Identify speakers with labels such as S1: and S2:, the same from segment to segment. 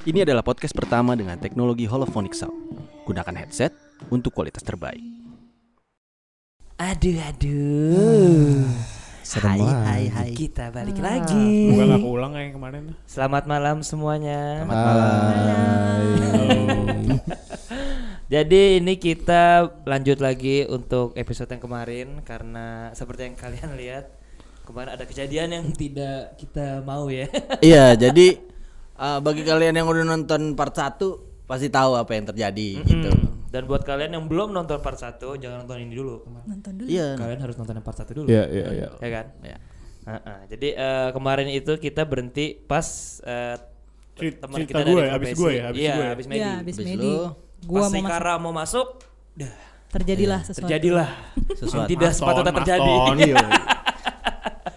S1: Ini adalah podcast pertama dengan teknologi holophonic sound. Gunakan headset untuk kualitas terbaik.
S2: Aduh aduh.
S3: serem
S2: hai
S3: banget.
S2: hai hai. Kita balik
S4: Ah.
S2: lagi.
S5: Gue gak keulang kayak kemarin.
S2: Selamat malam semuanya.
S3: Hai.
S2: Jadi ini kita lanjut lagi untuk episode yang kemarin karena seperti yang kalian lihat kemarin ada kejadian yang tidak kita mau ya.
S3: Iya, jadi eh, bagi kalian yang udah nonton part 1 pasti tahu apa yang terjadi gitu.
S2: Dan buat kalian yang belum nonton part 1 jangan nonton ini dulu.
S6: nonton dulu
S3: Iya.
S2: Kalian harus nonton yang part 1 dulu.
S5: Iya, iya, iya.
S2: Ya kan?
S3: Iya.
S2: Ha-ha. Jadi eh, kemarin itu kita berhenti pas eh,
S5: Cerit-
S2: teman kita
S5: cerita gue
S2: dari
S5: ya, abis
S2: profesi.
S5: gue ya, abis
S2: Iya,
S5: gue ya.
S2: abis Medi.
S6: ya habis
S3: Habis
S6: Medi
S3: lu,
S6: gua mau
S2: pas
S6: masuk
S2: Rikara mau masuk, dah,
S6: terjadilah sesuatu
S2: terjadilah
S3: Sesuatu. iya.
S2: yang tidak sepatutnya terjadi.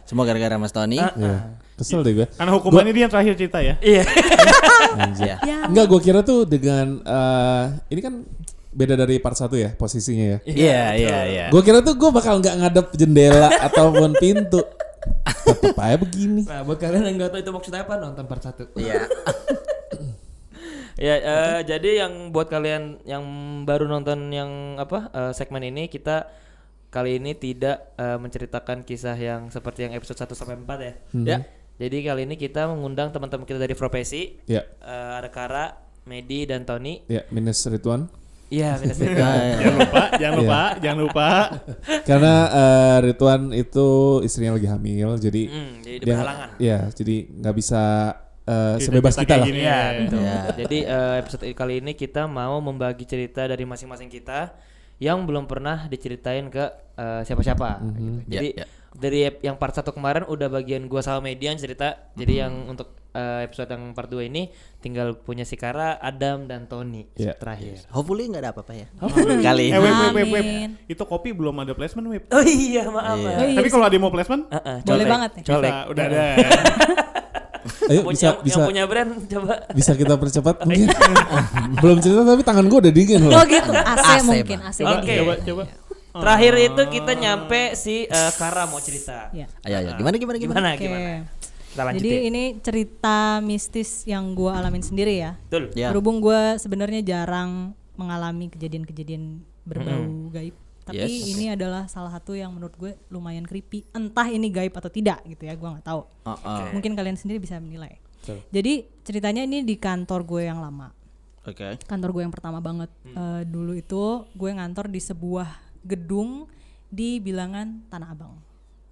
S3: Semua gara-gara Mas Tony.
S1: Ah.
S7: Iya. Kesel deh gue.
S5: Karena hukumannya dia yang terakhir cerita ya.
S2: Iya.
S3: Iya.
S6: ya
S7: Enggak, gue kira tuh dengan eh, ini kan beda dari part 1 ya posisinya ya.
S3: Iya, iya, iya.
S7: Gue kira tuh gue bakal nggak ngadep jendela ataupun pintu. Tetep aja begini.
S2: Nah, buat kalian yang nggak tahu itu maksudnya apa, nonton part 1.
S3: Iya.
S2: ya, eh, jadi yang buat kalian yang baru nonton yang apa eh, segmen ini kita kali ini tidak eh, menceritakan kisah yang seperti yang episode 1 sampai 4 ya.
S3: Ya.
S2: Jadi kali ini kita mengundang teman-teman kita dari profesi,
S7: Ya,
S2: eh, ada Kara, Medi dan Tony.
S7: ya minus Ridwan.
S2: Iya, minus
S5: Jangan lupa, jangan lupa,
S7: Iya.
S5: jangan lupa.
S7: Karena eh, Ridwan itu istrinya lagi hamil, jadi
S2: Hmm, jadi
S7: dia-
S2: berhalangan.
S7: Iya, jadi nggak bisa eh,
S5: Jadi
S7: sebebas
S5: kayak
S7: kita lah.
S5: gini
S2: Iya,
S5: ya.
S2: betul.
S3: Iya.
S2: Jadi eh, episode kali ini kita mau membagi cerita dari masing-masing kita yang belum pernah diceritain ke eh, siapa-siapa. gitu.
S3: Ya,
S2: Jadi
S3: ya.
S2: dari ep- yang part satu kemarin udah bagian gua sama Median cerita. Jadi yang untuk eh, episode yang part 2 ini tinggal punya si Kara, Adam dan Tony
S7: Iya.
S2: terakhir.
S3: Eh, Hopefully nggak ada apa-apa ya. Kali ini.
S5: Eh, web, web, web, web.
S6: Amin.
S5: Itu kopi belum ada placement, web.
S2: Oh iya, maaf.
S3: Iya.
S6: Oh, iya.
S5: Tapi kalau ada yang mau placement,
S2: Ah, ah,
S6: Boleh
S2: colek,
S6: banget ya.
S2: Colek.
S5: bisa, udah ada.
S7: Ayo
S2: Yang punya-
S7: bisa
S2: yang
S7: bisa
S2: punya brand coba.
S7: bisa kita percepat mungkin. Belum cerita tapi tangan gue udah dingin loh.
S6: oh gitu AC,
S3: AC,
S6: mungkin
S3: Bang.
S6: AC
S2: Oke.
S6: mungkin.
S5: Coba, coba.
S2: Terakhir itu kita nyampe si eh, Kara mau cerita.
S6: Ya.
S3: Ayo, ayo. Gimana gimana gimana?
S2: Gimana
S6: Oke.
S2: gimana? Kita lanjutin.
S6: jadi ini cerita mistis yang gua alamin sendiri ya
S2: Betul.
S3: Ya.
S6: berhubung gua sebenarnya jarang mengalami kejadian-kejadian berbau gaib tapi
S3: Yes.
S6: ini adalah salah satu yang menurut gue lumayan creepy entah ini gaib atau tidak gitu ya gua nggak tahu
S3: Oh, oh.
S6: mungkin kalian sendiri bisa menilai jadi ceritanya ini di kantor gue yang lama
S3: Oke.
S6: kantor gue yang pertama banget
S2: Hmm.
S6: Eh, dulu itu gue ngantor di sebuah gedung di bilangan Tanah Abang.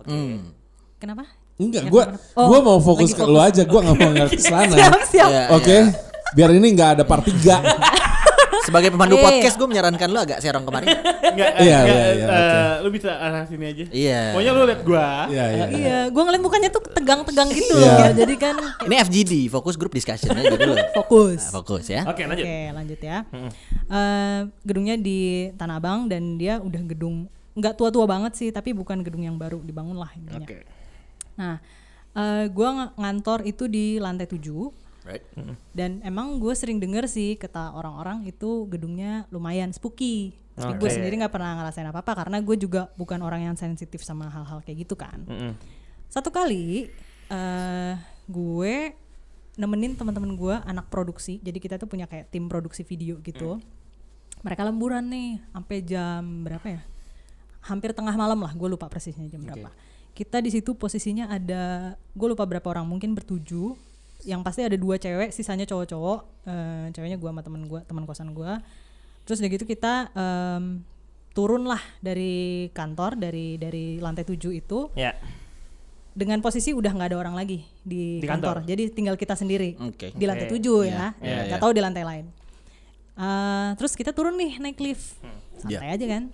S3: Hmm.
S6: Kenapa?
S7: Enggak,
S6: Yang
S7: gue
S6: kemana? Oh,
S7: gua mau fokus
S6: lagi
S7: ke lu aja, gue gak mau nggak ke sana.
S6: Siap-siap.
S3: Iya,
S7: Oke,
S3: iya.
S7: biar ini nggak ada part 3
S3: Sebagai pemandu
S6: Iya.
S3: podcast gue menyarankan lo agak serong kemarin.
S5: Enggak,
S7: Iya,
S5: enggak,
S7: iya, iya,
S5: eh,
S7: oke.
S5: lu bisa arah sini aja.
S3: Iya.
S5: Pokoknya lu liat gua.
S7: Iya, iya.
S6: Iya, gue ngeliat mukanya tuh tegang-tegang gitu
S7: Iya.
S6: loh. Jadi kan
S3: Ini FGD, fokus grup discussion aja dulu.
S6: fokus.
S3: Nah, fokus ya.
S2: Oke, lanjut. Hmm.
S6: Oke, lanjut ya. Eh, gedungnya di Tanah Abang dan dia udah gedung nggak tua-tua banget sih, tapi bukan gedung yang baru dibangun lah intinya. Nah, eh, gua ng- ngantor itu di lantai 7
S3: Right.
S6: dan emang gue sering denger sih kata orang-orang itu gedungnya lumayan spooky tapi gue
S2: Oke.
S6: sendiri nggak pernah ngerasain apa-apa karena gue juga bukan orang yang sensitif sama hal-hal kayak gitu kan satu kali eh gue nemenin teman-teman gue anak produksi jadi kita tuh punya kayak tim produksi video gitu mereka lemburan nih sampai jam berapa ya hampir tengah malam lah gue lupa persisnya jam berapa kita di situ posisinya ada gue lupa berapa orang mungkin bertujuh yang pasti ada dua cewek sisanya cowok-cowok Eh, ceweknya gue sama teman gue teman kosan gue terus udah gitu kita em, turun lah dari kantor dari dari lantai tujuh itu
S2: Ya.
S6: dengan posisi udah nggak ada orang lagi di,
S2: Di
S6: kantor.
S2: kantor.
S6: Jadi tinggal kita sendiri
S3: Oke.
S6: di lantai
S2: Oke.
S6: tujuh
S3: Iya,
S6: ya,
S3: iya,
S6: nggak
S3: iya.
S6: tahu di lantai lain. Eh, terus kita turun nih naik lift, santai aja kan,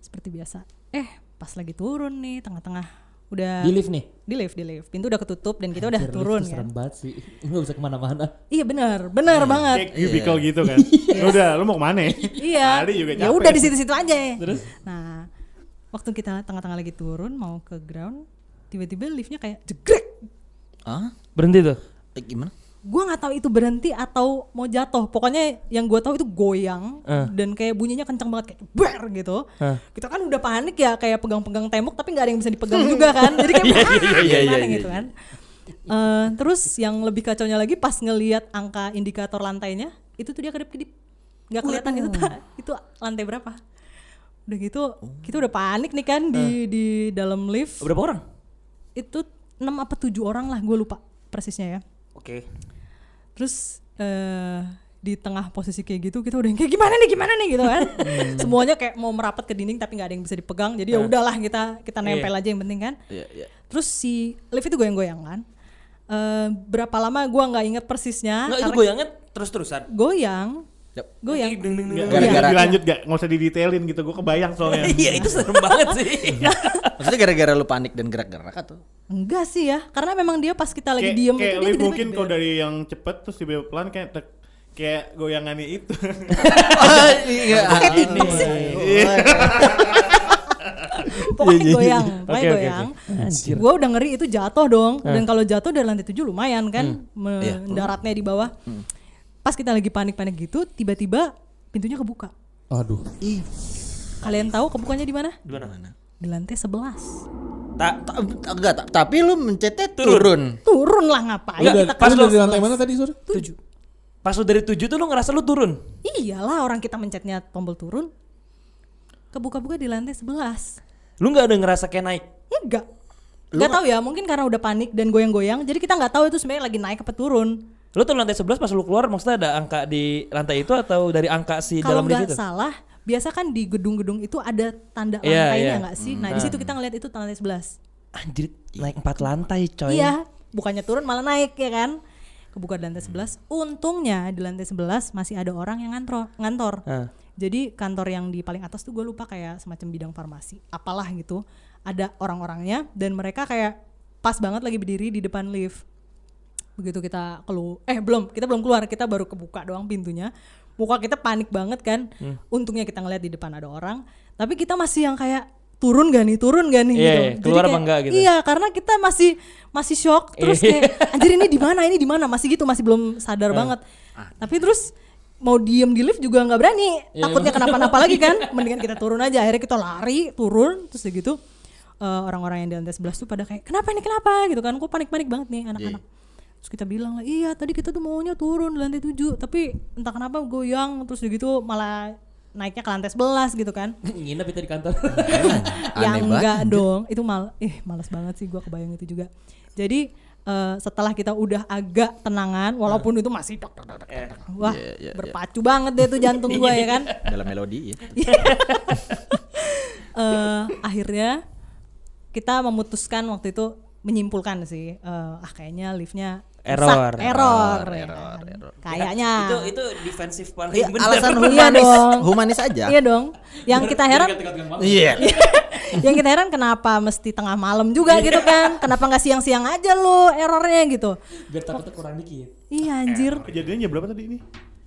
S6: seperti biasa. Eh pas lagi turun nih tengah-tengah udah
S4: Di lift nih.
S6: di lift di lift pintu udah ketutup dan kita udah
S4: Anjir, lift
S6: turun
S4: tuh
S6: kan.
S4: Serem banget sih. Lu gak bisa kemana-mana.
S6: Iya benar benar banget.
S5: Kayak cubicle gitu kan. Udah, lu mau kemana?
S6: iya.
S5: Tadi juga
S6: Ya
S5: capek.
S6: udah di situ-situ aja. Terus? Nah, waktu kita tengah-tengah lagi turun mau ke ground, tiba-tiba liftnya kayak jegrek.
S3: Ah,
S2: Berhenti tuh.
S3: eh, gimana?
S6: Gua nggak tahu itu berhenti atau mau jatuh. Pokoknya yang gua tahu itu goyang dan kayak bunyinya kencang banget kayak ber gitu. Kita kan udah panik ya kayak pegang-pegang tembok tapi nggak ada yang bisa dipegang juga kan. Jadi kayak "Ah, gimana gitu kan. Eh, terus yang lebih kacaunya lagi pas ngelihat angka indikator lantainya itu tuh dia kedip-kedip nggak kelihatan itu ta- itu lantai berapa udah gitu kita udah panik nih kan di di dalam lift
S2: Berapa orang?
S6: itu 6 apa tujuh orang lah gue lupa persisnya ya
S2: Oke.
S6: terus eh di tengah posisi kayak gitu kita udah yang kayak gimana nih gimana nih gitu kan
S5: Hmm.
S6: semuanya kayak mau merapat ke dinding tapi nggak ada yang bisa dipegang jadi ya
S5: Nah.
S6: udahlah kita kita nempel aja yang penting kan
S3: Iya, iya.
S6: terus si lift itu goyang-goyang kan Eh berapa lama gua nggak inget persisnya
S2: Enggak itu
S6: karena
S2: goyangnya terus-terusan.
S6: goyang
S3: Yap.
S6: Ah, goyang
S5: Nggak-
S3: Gara-gara-
S5: dilanjut gak? Nggak usah didetailin gitu, gue kebayang soalnya.
S2: Iya, itu serem banget sih.
S3: Maksudnya gara-gara lu panik dan gerak-gerak atau?
S6: enggak sih ya karena memang dia pas kita lagi
S5: Kayak-
S6: diem gitu. itu
S5: kayak
S6: dia
S5: lift
S6: tiba-tiba
S5: mungkin
S6: gede.
S5: kalau dari yang cepet terus tiba-tiba pelan kayak tek- kayak goyangannya itu.
S3: iya.
S6: pokoknya
S7: Iya, iya, iya.
S6: goyang
S5: Oke,
S6: pokoknya
S5: oke,
S6: goyang gue udah ngeri itu jatuh dong dan kalau jatuh dari lantai tujuh lumayan kan
S3: Iya.
S6: mendaratnya di bawah
S7: Hmm.
S6: pas kita lagi panik-panik gitu tiba-tiba pintunya kebuka
S7: Aduh.
S6: kalian tahu kebukanya di mana
S2: Di mana?
S6: di lantai 11
S2: Tak
S3: Ta- ta- enggak, ta- tapi lu mencetnya turun.
S6: turun lah ngapain
S7: Lu dari-
S6: kita
S7: Pas
S6: ke
S7: lu dari
S6: 11?
S7: lantai mana tadi, Sur?
S2: tujuh. Pas lu dari tujuh tuh lu ngerasa lu turun.
S6: iyalah orang kita mencetnya tombol turun kebuka-buka di lantai 11
S2: Lu nggak ada ngerasa kayak naik.
S6: enggak Gak tahu ya, mungkin karena udah panik dan goyang-goyang, jadi kita nggak tahu itu sebenarnya lagi naik apa turun.
S2: Lu tuh lantai 11 pas lu keluar maksudnya ada angka di lantai itu atau dari angka si
S6: kalau
S2: dalam di
S6: nggak
S2: situ?
S6: salah biasa kan di gedung-gedung itu ada tanda
S2: Iya,
S6: lantainya
S2: iya.
S6: nggak sih nah di situ kita ngeliat itu lantai 11
S2: Anjir, naik 4 lantai coy.
S6: iya bukannya turun malah naik ya kan kebuka di lantai 11 untungnya di lantai 11 masih ada orang yang ngantor ngantor
S2: Ah.
S6: jadi kantor yang di paling atas tuh gue lupa kayak semacam bidang farmasi apalah gitu ada orang-orangnya dan mereka kayak pas banget lagi berdiri di depan lift begitu kita keluar eh belum kita belum keluar kita baru kebuka doang pintunya muka kita panik banget kan
S2: Hmm.
S6: untungnya kita ngeliat di depan ada orang tapi kita masih yang kayak turun gak nih turun gak nih
S2: Iya,
S6: gitu
S2: iya, keluar apa
S6: kayak,
S2: enggak gitu.
S6: iya karena kita masih masih shock terus kayak anjir ini di mana ini di mana masih gitu masih belum sadar banget tapi terus mau diem di lift juga nggak berani takutnya kenapa-napa lagi kan mendingan kita turun aja akhirnya kita lari turun terus udah gitu eh, orang-orang yang di lantai 11 tuh pada kayak kenapa ini kenapa gitu kan gue panik-panik banget nih anak-anak terus kita bilang lah iya tadi kita tuh maunya turun di lantai 7 tapi entah kenapa goyang terus udah gitu malah naiknya ke lantai 11 gitu kan
S2: ya
S4: Nginep kita di kantor.
S6: Iya. yang
S3: banget.
S6: enggak dong itu mal eh malas banget sih gua kebayang itu juga jadi eh, setelah kita udah agak tenangan walaupun itu masih tok, tok, tok, tok, tok, tok. wah
S3: Eh. Iya, iya,
S6: berpacu banget deh tuh jantung gua ya kan
S3: Dalam melodi ya.
S6: eh akhirnya kita memutuskan waktu itu menyimpulkan sih eh, ah kayaknya liftnya
S2: Error.
S6: rusak. error,
S3: Error,
S6: ya
S3: error,
S6: kan.
S3: error.
S6: kayaknya
S2: Itu itu defensif paling
S3: Iya,
S2: bener.
S3: alasan
S6: Iya
S3: humanis,
S6: dong.
S3: humanis aja.
S6: iya dong yang kita heran
S3: Iya.
S6: yang kita heran kenapa mesti tengah malam juga
S4: Iya.
S6: gitu kan kenapa nggak siang-siang aja lu errornya gitu
S4: Biar takutnya kurang dikit.
S6: iya anjir
S5: Kejadiannya berapa tadi ini?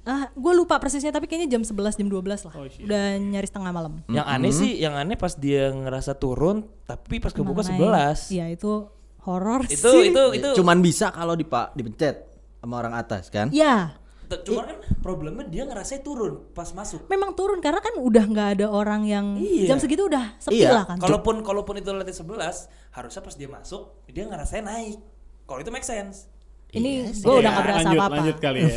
S6: ah gue lupa persisnya tapi kayaknya jam 11 jam 12 lah udah nyaris tengah malam
S2: Yang aneh sih, yang aneh pas dia ngerasa turun tapi pas kebuka
S6: Mengenai-
S2: 11.
S6: iya itu horor sih
S2: Itu itu itu
S3: Cuman bisa kalau dipa dipencet sama orang atas kan?
S6: ya
S2: T- Cuman kan problemnya dia ngerasa turun pas masuk.
S6: memang turun karena kan udah nggak ada orang yang
S2: Iya.
S6: jam segitu udah sepi
S3: Iya,
S6: lah kan
S2: Kalaupun kalaupun itu lantai 11, harusnya pas dia masuk dia ngerasain naik. Kalau itu make sense.
S6: ini
S4: Iya
S6: gue udah nggak berasa
S5: Iya, lanjut,
S6: apa-apa
S5: Lanjut kali ya.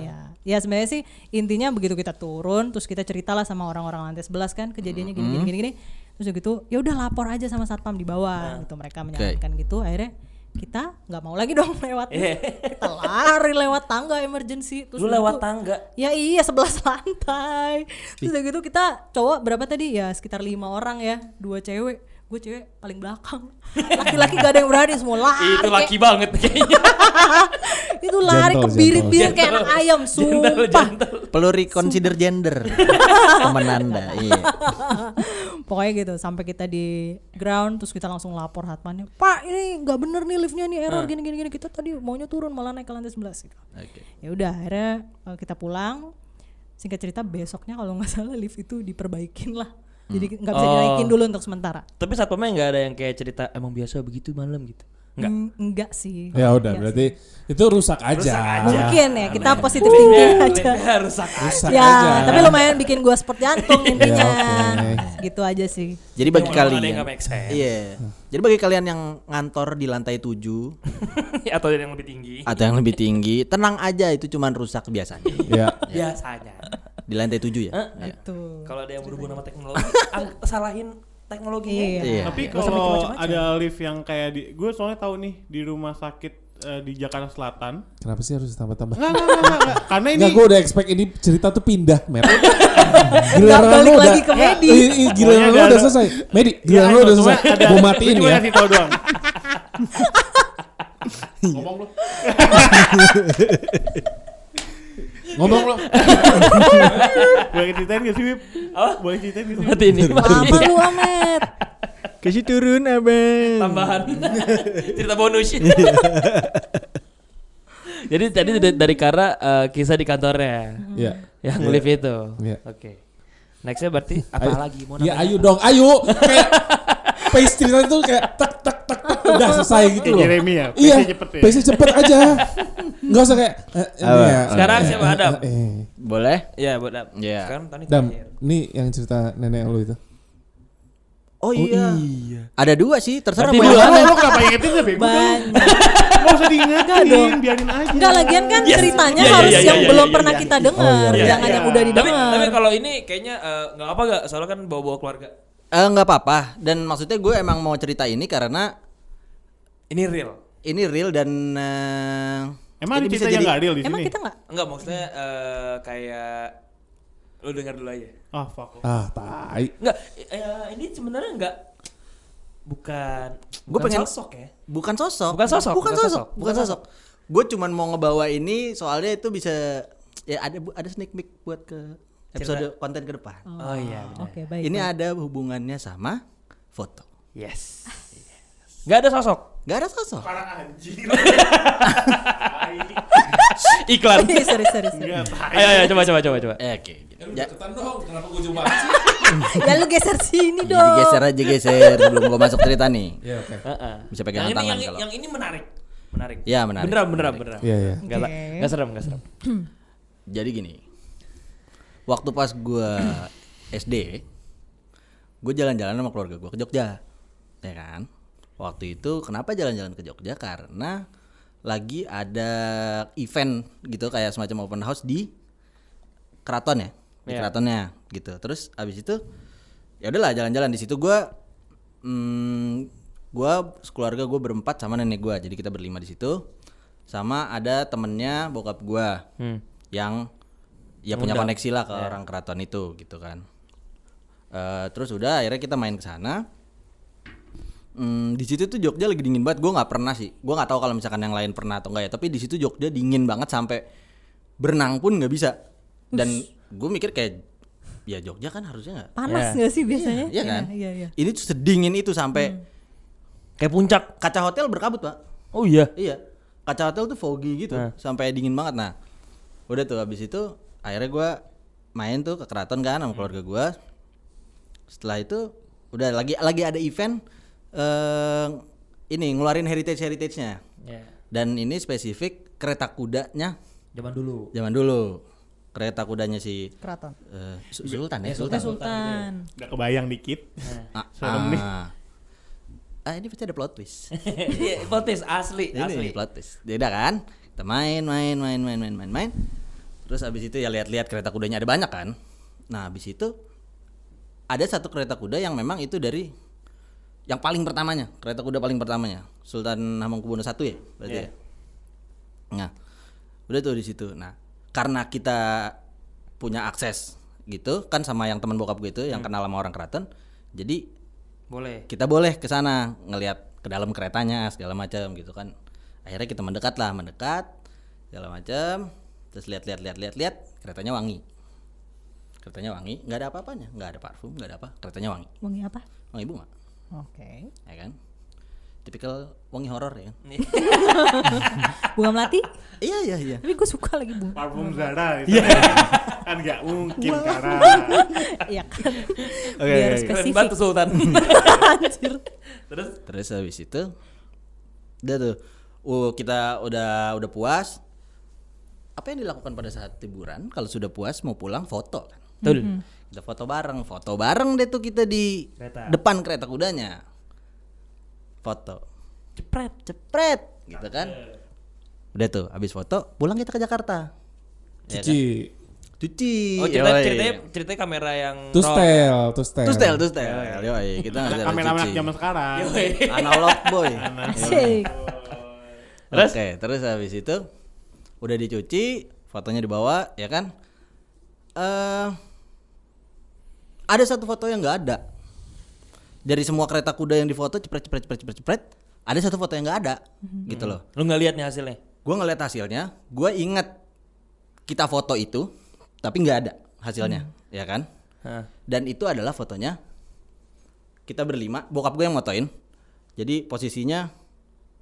S6: Iya. Ya sebenarnya sih intinya begitu kita turun terus kita ceritalah sama orang-orang lantai 11 kan kejadiannya gini
S2: Mm-hmm.
S6: gini gini gini. Terus udah gitu ya udah lapor aja sama satpam di bawah
S2: Nah,
S6: gitu mereka menyarankan gitu akhirnya kita nggak mau lagi dong lewat kita lari lewat tangga emergency terus
S2: Iya. Lu
S6: udah
S2: lewat
S6: gitu,
S2: tangga.
S6: ya iya 11 lantai terus udah gitu kita cowok berapa tadi ya sekitar lima orang ya dua cewek gue cewek paling belakang laki-laki gak ada yang berani semua lari
S2: Itu
S6: kayak-
S2: laki banget kayaknya.
S6: itu lari
S7: Gentle,
S6: kebirit-birit kayak anak ayam
S2: Gentle,
S6: sumpah
S2: gentle.
S3: Perlu reconsider gender. Temen Anda. Iya.
S6: pokoknya gitu sampai kita di ground terus kita langsung lapor hatmannya pak ini nggak bener nih liftnya nih
S2: Ah.
S6: error gini gini gini kita tadi maunya turun malah naik ke lantai 11 gitu
S3: Oke.
S6: ya udah akhirnya eh, kita pulang singkat cerita besoknya kalau nggak salah lift itu diperbaikin lah jadi nggak bisa
S2: Oh.
S6: dinaikin dulu untuk sementara
S2: Tapi satpamnya nggak ada yang kayak cerita emang biasa begitu malam gitu. Enggak.
S6: Mm, enggak sih.
S7: Ya udah
S6: Enggak
S7: berarti itu rusak aja.
S6: sih. Mungkin ya kita positif thinking
S2: Beda,
S6: aja.
S2: beda, rusak aja.
S7: Rusak
S6: Ya,
S7: aja.
S6: tapi lumayan bikin gua sport jantung intinya.
S7: oke.
S6: Gitu aja sih.
S3: Jadi bagi
S2: Walaupun ada yang
S3: kalian
S2: nggak make sense.
S3: Iya. Jadi bagi kalian yang ngantor di lantai 7
S2: Atau yang lebih tinggi.
S3: atau yang lebih tinggi, tenang aja itu cuman rusak biasanya.
S7: Ya.
S2: Biasanya.
S3: Di lantai 7 ya? Iya.
S6: Tuh.
S2: Kalau ada yang berhubungan sama teknologi, ang- salahin teknologinya.
S6: Iya.
S3: Iya.
S5: Tapi
S2: Nggak usah mikir
S5: kalau
S2: macam-macam.
S5: ada lift yang kayak di gue soalnya tahu nih di rumah sakit eh, di Jakarta Selatan.
S7: Kenapa sih harus tambah-tambah?
S6: Nah,
S5: Enggak, enggak, enggak, enggak, enggak. Karena ini
S7: Enggak, gue udah expect ini cerita tuh pindah, Mer.
S6: Nggak
S7: Giliran
S6: balik
S7: lu udah,
S6: lagi ke Medi.
S7: Ih, ih, giliran lu
S5: Pokoknya
S7: udah
S5: ada-
S7: selesai. Medi, giliran lu udah selesai. Gue matiin
S5: Iya, Cuma
S7: ya.
S5: kasih tahu doang.
S7: Ngomong lu.
S5: Boleh ceritain gak sih, Wip?
S2: Apa?
S5: Boleh ceritain gak sih? Wip?
S2: Berarti ini
S6: Apa lu Ahmed?
S3: Kasih turun, Abang.
S2: tambahan cerita bonus. Jadi tadi dari, dari Kara eh, kisah di kantornya
S7: Ya.
S2: yang lift itu.
S7: Iya.
S2: Oke. Nextnya berarti apa
S7: Ayo.
S2: lagi? Mau
S3: Iya.
S7: Ya
S2: nambahin
S7: ayo
S2: apa?
S7: dong, ayo. Kayak pace cerita itu kayak tek tek tek tek udah selesai gitu
S5: Kayak
S7: loh.
S5: Jeremy ya,
S7: Iya,
S5: pace-nya cepet ya.
S7: pace cepet aja. Enggak usah kayak eh, ini
S3: Apa?
S7: ya,
S2: Sekarang
S7: eh,
S2: siapa,
S7: eh,
S2: Adam?
S7: eh, eh.
S3: Boleh?
S2: Ya, buat Dam.
S3: Iya.
S2: Sekarang Tony
S7: Dam,
S2: terakhir.
S7: ini yang cerita nenek lu itu.
S3: Oh iya. Ada dua sih, terserah
S2: Berarti
S3: mau yang
S2: dua.
S5: Lu
S3: mana.
S5: lu kenapa ingetin sih, Bego?
S6: Banyak.
S5: Gak usah diingetin, biarin aja.
S6: Enggak lagian kan
S2: Yes.
S6: ceritanya
S2: Iya, iya,
S6: harus
S2: iya,
S6: yang
S2: iya,
S6: belum
S2: iya,
S6: pernah
S2: iya.
S6: kita dengar,
S7: Oh, iya,
S6: jangan
S5: iya.
S6: yang udah
S2: Tapi,
S6: didengar.
S2: tapi kalau ini kayaknya eh, nggak apa gak soalnya kan bawa-bawa keluarga.
S3: Eh nggak apa-apa. Dan maksudnya gue emang mau cerita ini karena
S2: Ini real.
S3: ini real dan eh,
S5: Emang ada
S3: ini bisa
S5: cerita
S3: jadi-
S5: yang gak real di sini?
S6: Emang kita nggak?
S2: Enggak maksudnya eh, kayak lu dengar dulu aja.
S5: Ah, fuck.
S7: Ah, tai.
S2: Enggak, eh, ini sebenarnya enggak bukan
S3: Gua
S2: bukan
S3: pengen-
S2: sosok ya.
S3: Bukan sosok.
S2: Bukan sosok,
S3: Bukan
S2: bukan
S3: sosok.
S2: sosok,
S3: Bukan
S2: bukan
S3: sosok. Gue cuman mau ngebawa ini soalnya itu bisa ya ada bu- ada sneak peek buat ke episode konten ke depan.
S2: Oh iya, benar.
S6: Oke, baik.
S3: ini
S6: baik.
S3: ada hubungannya sama foto.
S2: Yes. Enggak ada sosok.
S3: Gak ada sosok.
S2: Iklan.
S6: Sorry, sorry, sorry, sorry.
S5: Enggak, tai.
S2: ayo, ayo coba coba coba coba.
S3: Eh, Oke. Ja-
S7: Kenapa gue cuma
S6: ya lu geser sini
S3: jadi
S6: dong.
S3: geser aja geser belum gue masuk cerita nih.
S7: Ya, oke.
S2: Heeh.
S3: Bisa pegangan
S2: yang ini,
S3: tangan
S2: yang,
S3: kalau.
S2: yang ini menarik. iya. Menarik.
S3: Ya, menarik.
S2: Beneran beneran beneran.
S7: Iya, iya.
S2: Enggak
S6: Oke.
S2: enggak serem, enggak serem.
S3: Jadi gini. Waktu pas gue SD, gue jalan-jalan sama keluarga gue ke Jogja. Ya kan? Waktu itu kenapa jalan-jalan ke Jogja? Karena lagi ada event gitu kayak semacam open house di keraton ya. Di
S2: Iya.
S3: keratonnya gitu. Terus abis itu ya udahlah jalan-jalan di situ gue hmm, gue keluarga gue berempat sama nenek gue jadi kita berlima di situ sama ada temennya bokap gue yang ya punya koneksi lah
S6: Iya.
S3: ke orang keraton itu gitu kan Eh, terus udah akhirnya kita main ke sana Hmm, di situ tuh Jogja lagi dingin banget. Gue nggak pernah sih. Gue nggak tahu kalau misalkan yang lain pernah atau enggak ya. Tapi di situ Jogja dingin banget sampai berenang pun nggak bisa. Dan gue mikir kayak ya Jogja kan harusnya nggak
S6: Panas nggak sih biasanya?
S3: Iya kan?
S6: Iya, Hmm. iya.
S3: Ini tuh sedingin itu sampai
S2: Kayak puncak.
S3: kaca hotel berkabut, Pak.
S2: Oh iya.
S3: Iya. Kaca hotel tuh foggy gitu, sampai dingin banget. Nah, udah tuh habis itu akhirnya gua main tuh ke keraton kan sama keluarga gua. Setelah itu udah lagi lagi ada event eh ini ngeluarin heritage heritage-nya.
S2: Ya.
S3: Dan ini spesifik kereta kudanya
S2: Zaman dulu.
S3: zaman dulu. Kereta kudanya si
S6: Keraton. Iya,
S3: eh, Su- Sultan ya,
S6: Sultan.
S3: Sultan.
S6: Sultan.
S5: Udah kebayang dikit.
S3: Ah,
S5: Serem nih.
S3: ah. Ah, ini pasti ada plot twist.
S2: Iya, plot twist, asli, asli.
S3: ini plot twist beda kan kita main main main main main main main terus abis itu ya lihat-lihat kereta kudanya ada banyak kan nah abis itu ada satu kereta kuda yang memang itu dari yang paling pertamanya kereta kuda paling pertamanya Sultan Hamengkubuwono I ya berarti ya nah udah tuh di situ nah karena kita punya akses gitu kan sama yang teman bokap gue itu yang kenal sama orang keraton jadi
S2: Boleh.
S3: kita boleh ke sana ngelihat ke dalam keretanya segala macam gitu kan akhirnya kita mendekat lah mendekat segala macam terus lihat-lihat lihat-lihat lihat keretanya wangi keretanya wangi nggak ada apa-apanya nggak ada parfum nggak ada apa keretanya wangi
S6: Wangi apa?
S3: wangi bunga
S6: Oke.
S3: ya kan tipikal wangi horor ya kan?
S6: Bunga melati?
S3: iya iya iya
S6: Tapi gue suka lagi bunga.
S5: Parfum Zara itu.
S7: Iya.
S5: kan nggak mungkin karena
S6: Iya kan. Biar
S2: Keren
S6: spesifik.
S2: banget tuh Sultan.
S6: Anjir.
S2: Terus
S3: terus habis itu Udah tuh. Uh, kita udah udah puas. Apa yang dilakukan pada saat liburan kalau sudah puas mau pulang foto kan?
S2: Betul.
S3: Kita foto bareng, foto bareng deh tuh kita di
S2: Kereta.
S3: depan kereta kudanya. Foto. Cepret, cepret gitu kan. Udah tuh, habis foto pulang kita ke Jakarta. Ya kan?
S7: Cuci.
S3: Cuci.
S2: Oh cerita,
S3: Yoi.
S2: ceritanya ceritanya kamera yang
S7: Tus
S2: raw.
S7: tel, tus tel.
S3: Tus tel, tus tel. Yoi, kita nggak jarang
S5: Kamera-kamera
S3: cuci.
S5: zaman sekarang.
S3: Analog boy.
S6: Asik.
S2: Terus?
S3: Oke, terus habis itu udah dicuci, fotonya dibawa, ya kan? Eh ada satu foto yang nggak ada. Dari semua kereta kuda yang difoto cepret cepret cepret cepret cepret, ada satu foto yang nggak ada, gitu loh.
S2: Lu nggak lihat nih hasilnya?
S3: Gua ngeliat hasilnya, gua inget kita foto itu, tapi nggak ada hasilnya, ya kan?
S2: Hah.
S3: Dan itu adalah fotonya kita berlima, bokap gue yang motoin. Jadi posisinya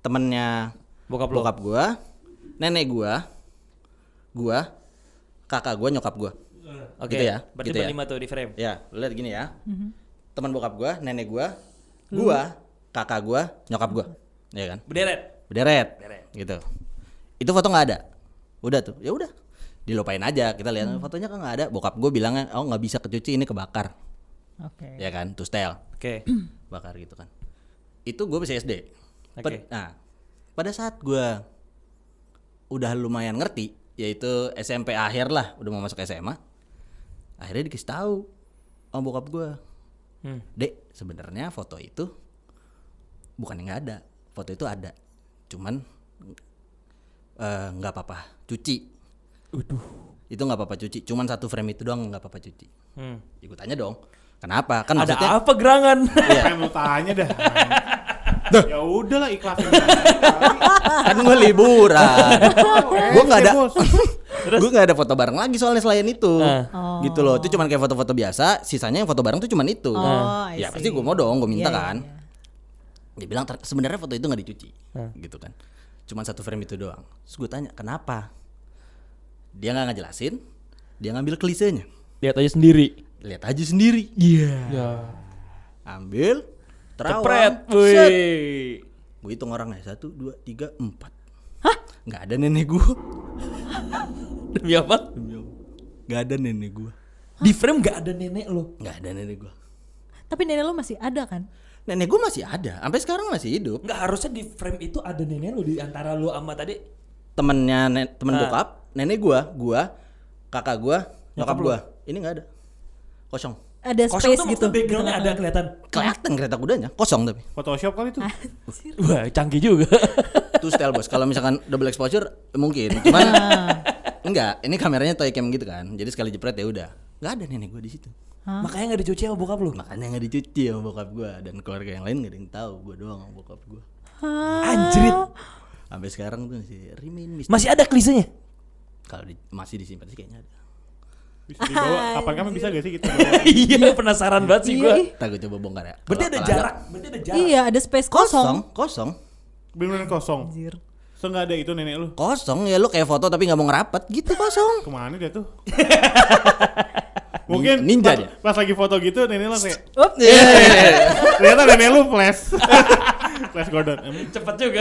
S3: temennya
S2: Bokap lo.
S3: bokap gua, nenek gua, gua, kakak gua, nyokap gua.
S2: Oke.
S3: Gitu ya,
S2: Berarti
S3: gitu ya.
S2: berlima tuh di frame.
S3: Ya, lu lihat gini ya. Teman bokap gua, nenek gua, gua, kakak gua, nyokap gua. Iya kan?
S2: Berderet.
S3: Berderet. Gitu. Itu foto nggak ada. Udah tuh. Ya udah. Dilupain aja. Kita lihat fotonya kan nggak ada. Bokap gua bilangnya, "Oh, nggak bisa kecuci, ini kebakar."
S6: Oke.
S3: Ya kan? To style
S2: Oke.
S3: bakar gitu kan itu gue bisa SD
S2: Oke.
S3: Per- nah pada saat gue udah lumayan ngerti yaitu SMP akhir lah udah mau masuk SMA akhirnya dikasih tahu sama bokap gue
S2: Hmm.
S3: dek sebenarnya foto itu bukan yang nggak ada foto itu ada cuman eh, nggak apa-apa cuci itu nggak apa-apa cuci cuman satu frame itu doang nggak apa-apa cuci
S2: Hmm.
S3: ikut tanya dong kenapa kan
S2: Ada
S3: maksudnya
S2: apa gerangan?
S3: Iya.
S5: Pengen lu tanya dah. ya udahlah ikhlasin.
S3: kan gue liburan gue nggak ada
S5: Bos.
S3: gue nggak ada foto bareng lagi soalnya selain itu
S2: Ah.
S6: Oh.
S3: gitu loh itu cuman kayak foto-foto biasa sisanya yang foto bareng tuh cuman itu
S6: Oh, I see.
S3: ya pasti gue mau dong gue
S6: Iya,
S3: minta
S6: iya,
S3: kan
S6: iya.
S3: dia bilang "Ter- sebenarnya foto itu nggak dicuci
S6: Ah.
S3: gitu kan cuman satu frame itu doang terus gue tanya kenapa dia nggak ngejelasin dia ngambil kelisenya
S2: Lihat aja sendiri.
S3: lihat aja sendiri
S2: Iya.
S7: Ya.
S3: ambil
S2: Cepret.
S3: terawang set.
S2: Wih.
S3: gue hitung orangnya satu dua tiga empat hah nggak ada nenek gue
S2: Demi apa?
S3: nggak ada nenek gue
S2: Di frame nggak ada nenek lo.
S3: nggak ada nenek gue
S6: Tapi nenek lu masih ada kan?
S3: nenek gue masih ada sampai sekarang masih hidup
S2: Nggak harusnya di frame itu ada nenek lo di antara lo sama tadi.
S3: temennya ne- temen
S2: Ah.
S3: bokap nenek gua gua kakak gua nyokap gua ini nggak ada kosong
S6: Ada
S2: Kosong
S6: space
S2: tuh
S6: gitu.
S2: gitu. backgroundnya ada kelihatan.
S3: kelihatan kereta kudanya kosong tapi
S5: Photoshop kali itu.
S2: Wah canggih juga.
S3: itu style bos kalau misalkan double exposure mungkin cuman enggak ini kameranya toy cam gitu kan jadi sekali jepret ya udah nggak ada nenek gua di situ
S2: Makanya nggak dicuci sama bokap lo.
S3: makanya nggak dicuci sama bokap gua dan keluarga yang lain nggak ada yang tahu gua doang sama bokap gua
S6: Ah,
S2: Anjrit.
S3: sampai sekarang tuh masih remain misteri
S2: Masih ada klisenya.
S3: kalau di- masih disimpan sih kayaknya ada
S5: Bisa dibawa. Kapan kapan bisa gak sih kita bawa?
S2: Iya penasaran banget sih
S6: Iya,
S2: gua. Iya.
S6: ih.
S3: Ntar gua coba bongkar ya
S2: Berarti
S3: Kalau-
S2: ada
S3: kalau
S2: jarak. Berarti ada jarak.
S6: Iya, ada space kosong.
S3: kosong kosong
S5: Beneran kosong.
S6: Anjir.
S5: So nggak ada itu nenek lu.
S3: kosong ya lu kayak foto tapi nggak mau ngerapat gitu kosong
S5: Kemana dia tuh? Mungkin
S3: Nin- ninja
S5: pas,
S3: dia.
S5: pas lagi foto gitu nenek lu kayak
S6: Up.
S3: Iya,
S5: ternyata nenek lu flash. flash Gordon. Em,
S2: Cepet juga.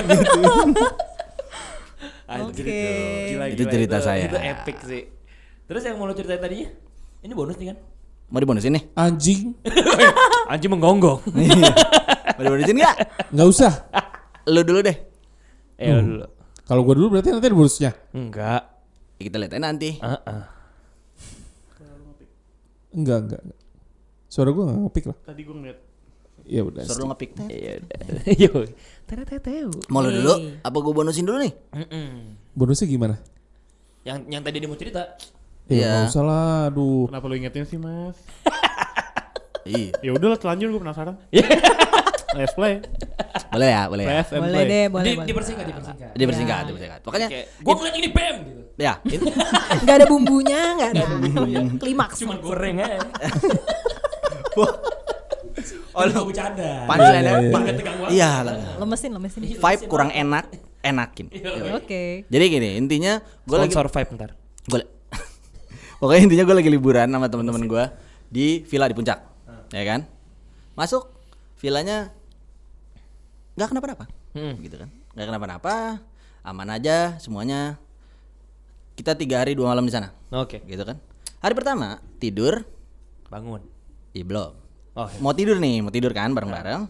S2: Anjir,
S6: Oke.
S2: Gila,
S3: Itu cerita saya.
S2: Itu epic sih. Terus yang mau lo ceritain tadinya? Ini bonus nih kan?
S3: mau dibonusin nih
S7: Anjing,
S2: Anjing menggonggong.
S3: mau dibonusin nggak
S7: nggak usah.
S3: lu dulu deh
S2: eh lo dulu.
S7: Kalau gua dulu berarti nanti ada bonusnya.
S2: Enggak. Uh-uh.
S3: Ya, kita lihat aja nanti
S2: Heeh.
S7: Enggak, enggak. enggak. Suara gua nggak ngepick lah.
S5: Tadi gue ngeliat.
S7: Ya udah.
S3: suruh lu ngepick teh.
S2: Iya udah. Yo. Tere tere teu.
S3: mau
S6: Iya.
S3: lu dulu apa gua bonusin dulu nih
S7: Bonusnya gimana?
S2: Yang yang tadi dia mau cerita.
S7: Ya
S3: Iya.
S7: nggak usah lah, aduh.
S5: Kenapa lu ingetin sih mas?
S3: iya
S5: Ya udahlah telanjur gue penasaran. Let's play.
S3: boleh ya boleh ya
S5: Let's and
S6: Boleh
S5: play.
S6: deh, boleh,
S2: Di,
S6: boleh.
S2: dipersingkat, dipersingkat.
S3: dipersingkat dipersingkat pokoknya
S2: Kayak, gua ngeliat ini bam gitu.
S3: ya ini-
S6: Gak ada bumbunya, gak ada klimaks.
S2: Cuma goreng aja.
S3: oh
S2: Kalau
S3: lu
S2: bercanda.
S3: punchline ya
S2: Agak tegang banget.
S3: iya lah.
S6: Lemesin, lemesin.
S3: vibe kurang enak enakin
S6: Oke.
S3: jadi gini intinya gua lagi
S2: Sponsor vibe ntar.
S3: gua li- pokoknya intinya gue lagi liburan sama teman-teman gue di villa di puncak ya kan masuk villanya nggak kenapa-napa gitu kan nggak kenapa-napa aman aja semuanya kita tiga hari dua malam di sana
S2: Nah, Oke,
S3: gitu kan hari pertama tidur
S2: bangun.
S3: Ih, belum
S2: Oh,
S3: mau tidur nih mau tidur kan bareng-bareng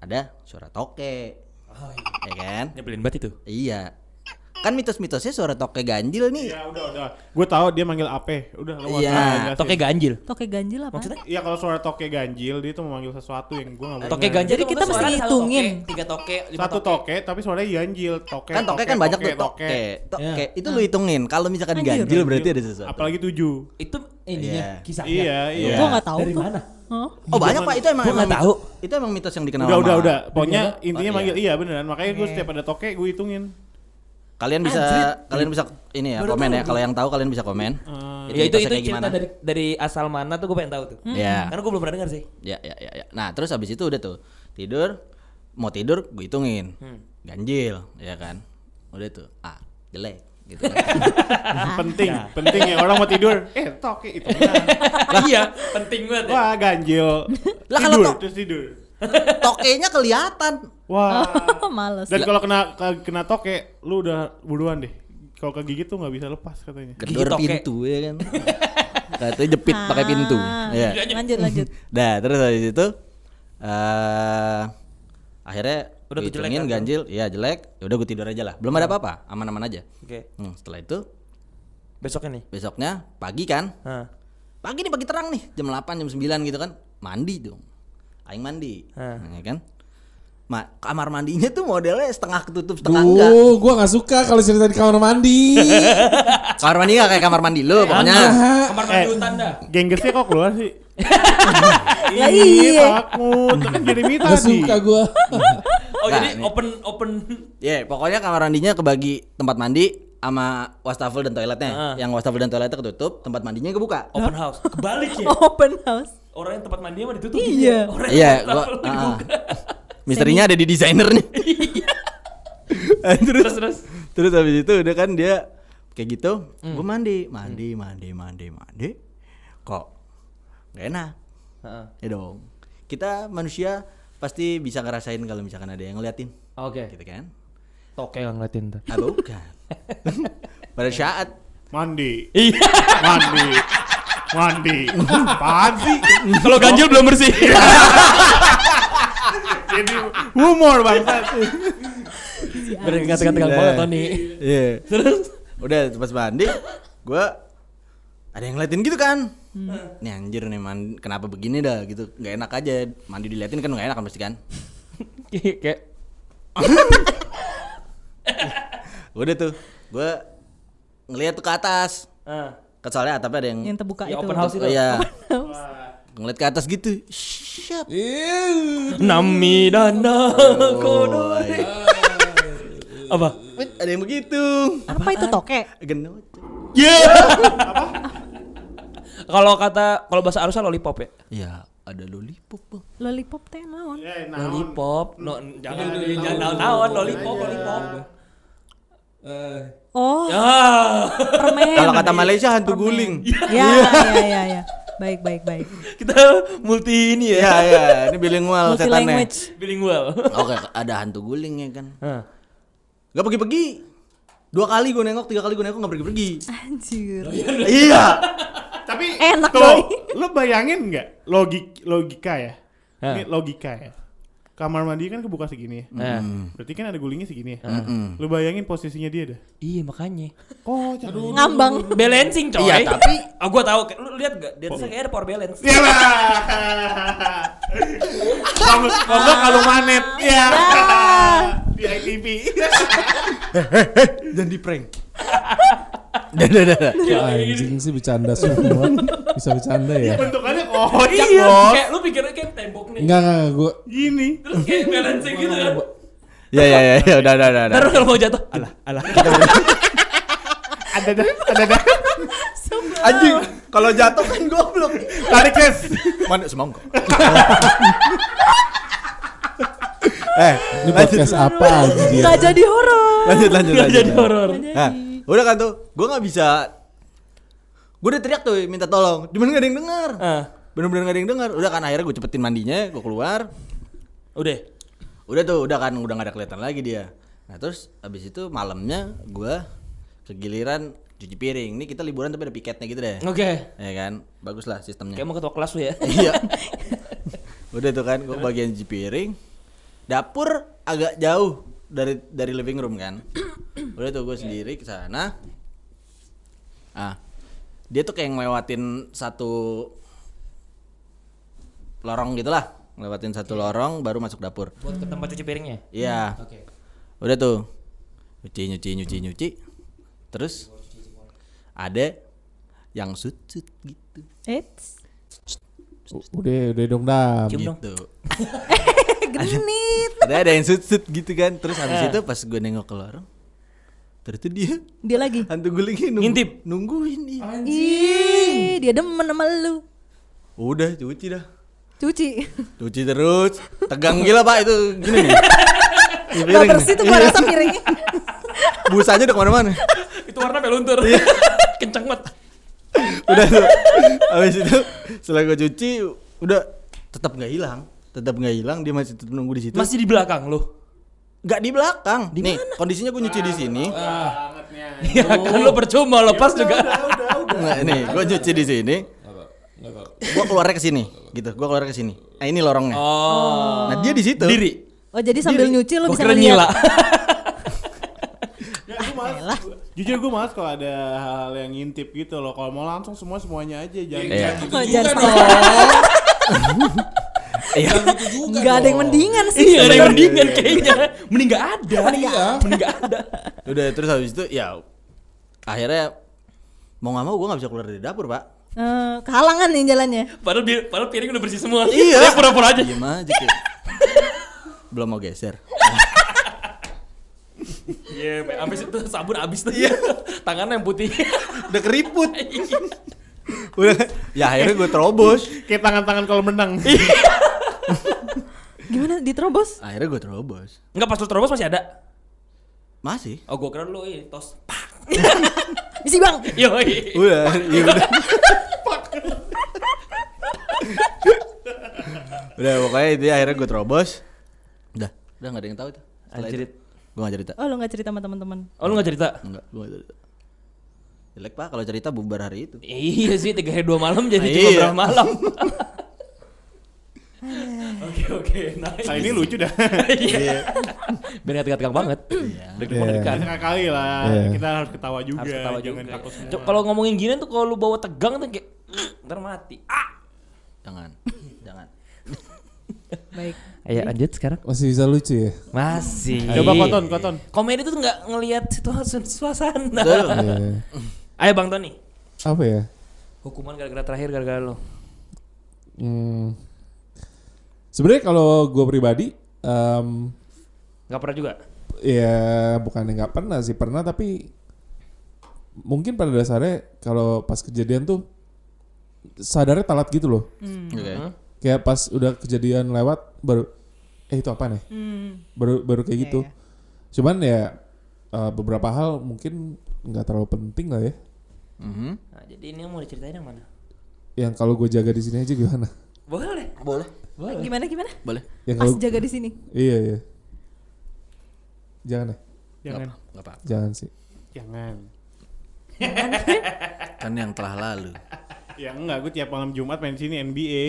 S3: ada suara toke ya kan
S2: nyebelin banget itu.
S3: iya kan mitos-mitosnya suara toke ganjil nih
S5: Ya udah udah. Gue tahu dia manggil Ape. Udah lewat.
S3: Iya,
S2: Toke ganjil.
S6: Toke ganjil apa?
S2: Maksudnya?
S5: Iya kalau suara toke ganjil dia tuh memanggil sesuatu yang gue nggak
S2: Toke
S5: bener.
S2: ganjil
S6: Jadi
S2: itu
S6: kita
S2: maksudnya
S6: mesti
S2: suaranya satu
S6: hitungin.
S2: toke, tiga toke, lima
S5: Satu toke tapi suaranya ganjil. Toke.
S3: kan toke kan banyak tuh toke toke itu lu hitungin kalau misalkan
S6: Anjir.
S3: ganjil berarti ada sesuatu Oh,
S5: Apalagi tujuh.
S2: Itu
S4: Ininya
S3: Iya.
S4: kisahnya.
S5: Iya iya.
S6: Gua nggak tahu
S4: Dari
S6: tuh.
S4: mana?
S6: Hah?
S3: oh banyak pak itu emang
S4: Gua nggak
S3: emang
S4: tahu.
S3: mitos- itu emang mitos yang dikenal
S5: Udah
S3: lama.
S5: udah udah. Pokoknya intinya
S3: Oh,
S5: manggil iya beneran. Makanya gue setiap ada toke gue hitungin.
S3: kalian bisa kalian bisa ini ya komen ya kalau yang tahu kalian bisa komen
S5: Eh,
S2: Ya
S3: mitosnya
S2: itu itu
S3: kayak
S2: cerita dari Hmm. dari asal mana tuh gue pengen tahu tuh.
S3: Iya.
S2: Karena gue belum pernah dengar sih.
S3: ya ya ya ya. nah terus habis itu udah tuh tidur mau tidur gue hitungin
S5: Hmm.
S3: ganjil ya kan udah tuh ah jelek gitu kan.
S5: penting penting ya orang mau tidur eh toke itu
S2: iya, penting banget.
S5: wah ganjil
S3: Lah, kalau
S5: tidur
S3: tok-
S5: terus tidur
S3: tokenya kelihatan
S5: wah
S3: Oh.
S6: Males.
S5: dan kalau kena ke- kena toke lu udah buruan deh kalau kegigit tuh nggak bisa lepas katanya
S3: gedor
S2: toke.
S3: pintu ya kan katanya jepit pakai pintu
S6: Ah,
S3: ya
S6: Lanjut lanjut.
S3: nah terus habis itu eh akhirnya
S2: Udah
S3: udah
S2: tuh jelek
S3: hitungin
S2: kan? Iya.
S3: ganjil ya jelek ya udah gue tidur aja lah belum ada apa-apa aman-aman aja
S2: Oke,
S3: Hmm, setelah itu
S2: besoknya nih.
S3: besoknya pagi kan
S2: Hah.
S3: pagi nih pagi terang nih jam 8 jam 9 gitu kan mandi dong aing mandi
S2: Hah.
S3: ya kan Ma, kamar mandinya tuh modelnya setengah ketutup setengah enggak
S7: Duh, gua nggak suka kalau cerita di kamar mandi.
S3: kamar mandi enggak kayak kamar mandi
S2: Eh,
S3: lu pokoknya
S4: Kamar mandi
S5: Eh.
S4: hutan dah.
S5: genggesnya kok keluar sih
S6: Lah iya.
S5: takut kan Jeremy
S7: Nggak
S5: tadi
S7: suka gua.
S2: Oh,
S3: Nah,
S2: jadi
S3: ini.
S2: open open
S3: ya pokoknya kamar mandinya kebagi tempat mandi sama wastafel dan toiletnya
S2: Heeh.
S3: yang wastafel dan toiletnya ketutup tempat mandinya kebuka
S2: open house. Kebalik
S4: Iya.
S2: ya.
S6: Open house.
S2: Orang yang tempat mandinya mah ditutup. gitu ya?
S6: Iya.
S2: Orang yang
S3: iya
S2: tempat
S3: gua
S2: lalu
S3: ah, ah.
S2: dibuka.
S3: misterinya ada di desainernya
S2: Iya.
S3: Eh,
S2: Terus terus. Hmm.
S3: terus habis itu udah kan dia kayak gitu gua mandi mandi mandi mandi mandi kok gak enak
S2: Heeh.
S3: Ya dong. Kita manusia pasti bisa ngerasain kalau misalkan ada yang ngeliatin,
S2: Oke.
S3: gitu kan?
S2: Toke yang ngeliatin tuh.
S3: Ah, bukan. Pada saat
S5: mandi
S2: Iya.
S5: mandi mandi apaan sih
S2: Kalau ganjil belum bersih.
S5: jadi humor bangsat
S4: Berarti kata-kata banget Tony.
S3: Iya.
S2: Terus
S3: Udah pas mandi, gua ada yang ngeliatin gitu kan?
S2: Hmm.
S3: Nih anjir nih mandi, kenapa begini dah gitu? Gak enak aja mandi diliatin kan gak enak kan pasti kan?
S2: kayak
S3: Udah tuh, gua ngeliat tuh ke atas.
S2: ah.
S3: Kan Soalnya atapnya ada yang
S6: Yang terbuka
S2: Ya,
S6: itu.
S2: open house itu.
S3: Iya. Ngeliat ke atas gitu. Shit.
S2: Nami dana
S3: Oh,
S2: kono.
S3: iya.
S2: Apa?
S3: Ada yang begitu.
S6: Apa itu toke?
S3: Genot.
S2: Kalau kata kalau bahasa harusnya lollipop ya.
S3: Ya, ada lollipop. Bang.
S6: Lollipop teh naon?
S5: Eh, nah,
S2: Lollipop. No, jangan
S5: Iya,
S2: jangan naon-naon lollipop lollipop.
S6: Oh,
S4: Iya.
S2: Ah.
S6: permen.
S3: Kalau kata Malaysia hantu guling.
S6: Ya,
S4: Iya.
S6: ya, ya, ya. Baik, baik, baik.
S2: Kita multi ini ya.
S3: Iya iya, ini bilingual
S6: Multi
S3: setannya.
S6: language.
S2: Bilingual.
S3: Oke, ada hantu guling ya kan.
S2: Hah.
S3: Gak pergi-pergi. Dua kali gue nengok, tiga kali gue nengok gak pergi-pergi.
S6: Anjir.
S3: iya.
S5: tapi
S6: Enak,
S5: tuh,
S6: doi.
S5: lu bayangin nggak logik logika ya ini logika ya kamar mandi kan kebuka segini ya
S2: Nah.
S5: berarti kan ada gulingnya segini ya
S3: Mm-mm.
S5: lu bayangin posisinya dia dah
S2: Iya makanya.
S5: kocak aduh
S6: Ngambang.
S2: Balancing coy.
S3: Iya, tapi-
S2: ah gua tahu lu lihat gak? Dia tuh kayak ada power balance.
S5: Ya lah. Kamu kalau kalung manet. Ya. Di ITV.
S3: Dan di prank. Dah dah dah. dah.
S7: Anjing sih bercanda semua. Bisa bercanda ya?
S5: Bentukannya kocak
S2: Iya,
S5: Bos.
S2: kayak lu pikirnya kayak tembok nih.
S7: Enggak enggak enggak, gua
S5: Gini.
S2: Terus kayak balancing gitu kan.
S3: Ya ya ya, ya udah udah udah. udah.
S2: Ntar kalau mau jatuh. Alah.
S5: Ada dah, ada dah.
S3: Anjing, kalau jatuh kan goblok.
S5: Tarik kes.
S3: Mana semangka. eh,
S7: ini podcast apa anjir?
S6: Gak jadi horor.
S3: lanjut lanjut
S2: Gak
S3: lanjut.
S2: jadi horor.
S3: Nah, udah kan tuh, gue nggak bisa. Gue udah teriak tuh minta tolong, cuman gak ada yang dengar.
S2: Ah,
S3: Bener-bener gak ada yang dengar. Udah kan akhirnya gue cepetin mandinya, gue keluar.
S2: udah.
S3: udah tuh udah kan udah nggak ada kelihatan lagi dia nah terus abis itu malamnya gua kegiliran cuci piring ini kita liburan tapi ada piketnya gitu deh
S2: Oke.
S3: ya kan bagus lah sistemnya
S2: Kayak mau ketua kelas lu ya.
S3: iya udah tuh kan gue bagian cuci piring dapur agak jauh dari dari living room kan udah tuh gue sendiri ke sana ah dia tuh kayak ngelewatin satu lorong gitulah ngelewatin satu lorong baru masuk dapur
S2: Buat ke tempat cuci piringnya.
S3: iya
S2: Oke.
S3: udah tuh nyuci nyuci nyuci nyuci terus ada yang sutut gitu
S6: Eits.
S7: U- Udah, udah dong dam.
S2: Cium dong.
S3: gitu
S6: Genit.
S3: ada ada yang sut sut gitu kan terus habis itu pas gue nengok ke lorong ternyata dia
S6: Dia lagi.
S3: hantu gulingnya nunggu,
S2: Ngintip.
S3: nungguin iya.
S6: Ih, dia demen sama lu.
S3: udah cuci dah
S6: Cuci.
S3: cuci terus tegang gila pak itu gini nih
S6: Gak
S3: Ini piring nih.
S6: bersih tuh gua rasa piringnya.
S3: busanya udah kemana-mana
S4: Itu warna meluntur.
S2: Iya.
S4: Kenceng banget.
S3: udah tuh habis itu setelah gue cuci udah tetap nggak hilang tetap nggak hilang dia masih tetap nunggu di situ
S2: Masih di belakang lu.
S3: nggak di belakang nih kondisinya gue nyuci di sini
S4: Ya
S2: Oh.
S4: kan lu percuma lepas
S2: Iya,
S4: juga.
S3: Nggak, nih gue nyuci di sini gue keluarnya ke sini gitu gue keluarnya ke sini nah ini lorongnya nah dia di situ diri
S6: Oh jadi sambil nyuci lu
S4: Gua
S6: bisa
S4: kira
S6: ngeliat.
S4: nyila.
S5: Ya, gua malas. Jujur gue malas kalau ada hal yang ngintip gitu loh. Kalau mau langsung semua semuanya aja jangan.
S3: Iya.
S6: Oh, jangan salah.
S2: gitu
S6: Gak ada yang mendingan sih.
S4: Iya, ada yang mendingan kayaknya. Mending gak ada. Iya, Mending gak ada.
S3: udah terus habis itu ya akhirnya mau nggak mau gue nggak bisa keluar dari dapur pak
S6: Eh, kehalangan nih jalannya.
S4: Padahal bi- padahal piring udah bersih semua.
S3: Iya.
S4: Tapi pura-pura aja.
S3: diem aja kayak belum mau geser
S4: Iya, abis itu sabun abis tuh.
S2: Iya.
S4: Tangannya yang putih.
S3: udah keriput udah ya akhirnya gue terobos
S5: Kayak tangan-tangan kalau menang.
S2: Iya.
S6: Gimana diterobos?
S3: akhirnya gue terobos
S2: Enggak pas lu terobos masih ada.
S3: masih
S2: Oh, gua kira lu
S4: iya,
S2: ini tos. Pak.
S6: Misi bang.
S4: Yoi.
S3: udah ya udah udah pokoknya itu ya, akhirnya gue terobos udah udah nggak ada yang tahu itu
S2: Anjrit.
S3: gue nggak cerita
S6: Oh lu nggak cerita sama teman-teman?
S2: Oh, lu enggak cerita?
S3: Enggak, gua nggak cerita. Jelek pak, kalau cerita bubar hari itu.
S2: Iya sih, tiga hari dua malam jadi
S3: Nah,
S2: cuma
S3: iya.
S2: berapa malam. Oke oke, nice.
S5: Kali ini lucu dah.
S2: Iya. Biar nggak tegang banget. Deg-degan.
S5: Sekali kali lah.
S7: Iya.
S5: Kita harus ketawa juga.
S2: Harus ketawa
S5: jangan
S2: juga.
S5: takut semua.
S2: Cok, Kalau ngomongin gini tuh kalau lu bawa tegang tuh kayak ntar mati. Ah.
S3: Jangan, jangan.
S6: Baik.
S2: Ayo Iya, lanjut sekarang.
S7: Masih bisa lucu ya?
S2: Masih. Iya.
S5: Coba koton, koton.
S2: Komedi tuh nggak ngelihat situasi
S3: Betul.
S2: suasana.
S7: Iya.
S2: Ayo Bang Tony.
S7: Apa ya?
S2: Hukuman gara-gara terakhir gara-gara lo.
S7: Hmm. Sebenarnya kalau gue pribadi, em,
S2: Gak pernah juga.
S7: ya bukan nggak pernah sih pernah tapi mungkin pada dasarnya kalau pas kejadian tuh sadarnya telat gitu loh.
S3: Oke.
S7: Kayak pas udah kejadian lewat baru eh itu apa nih? Baru baru kayak gitu. Cuman ya eh, beberapa hal mungkin nggak terlalu penting lah ya.
S3: Mhm.
S2: Nah, jadi ini yang mau diceritain yang mana?
S7: Yang kalau gue jaga di sini aja gimana?
S2: Boleh.
S3: Boleh,
S6: Gimana gimana?
S3: boleh.
S7: Yang
S6: Pas
S7: kalau-
S6: jaga di sini.
S7: Iya iya. Jangan ya,
S5: Jangan.
S3: Gak apa.
S7: jangan sih.
S5: Jangan.
S3: Kan yang telah lalu.
S5: Ya enggak, gue tiap malam Jumat main sini NBA.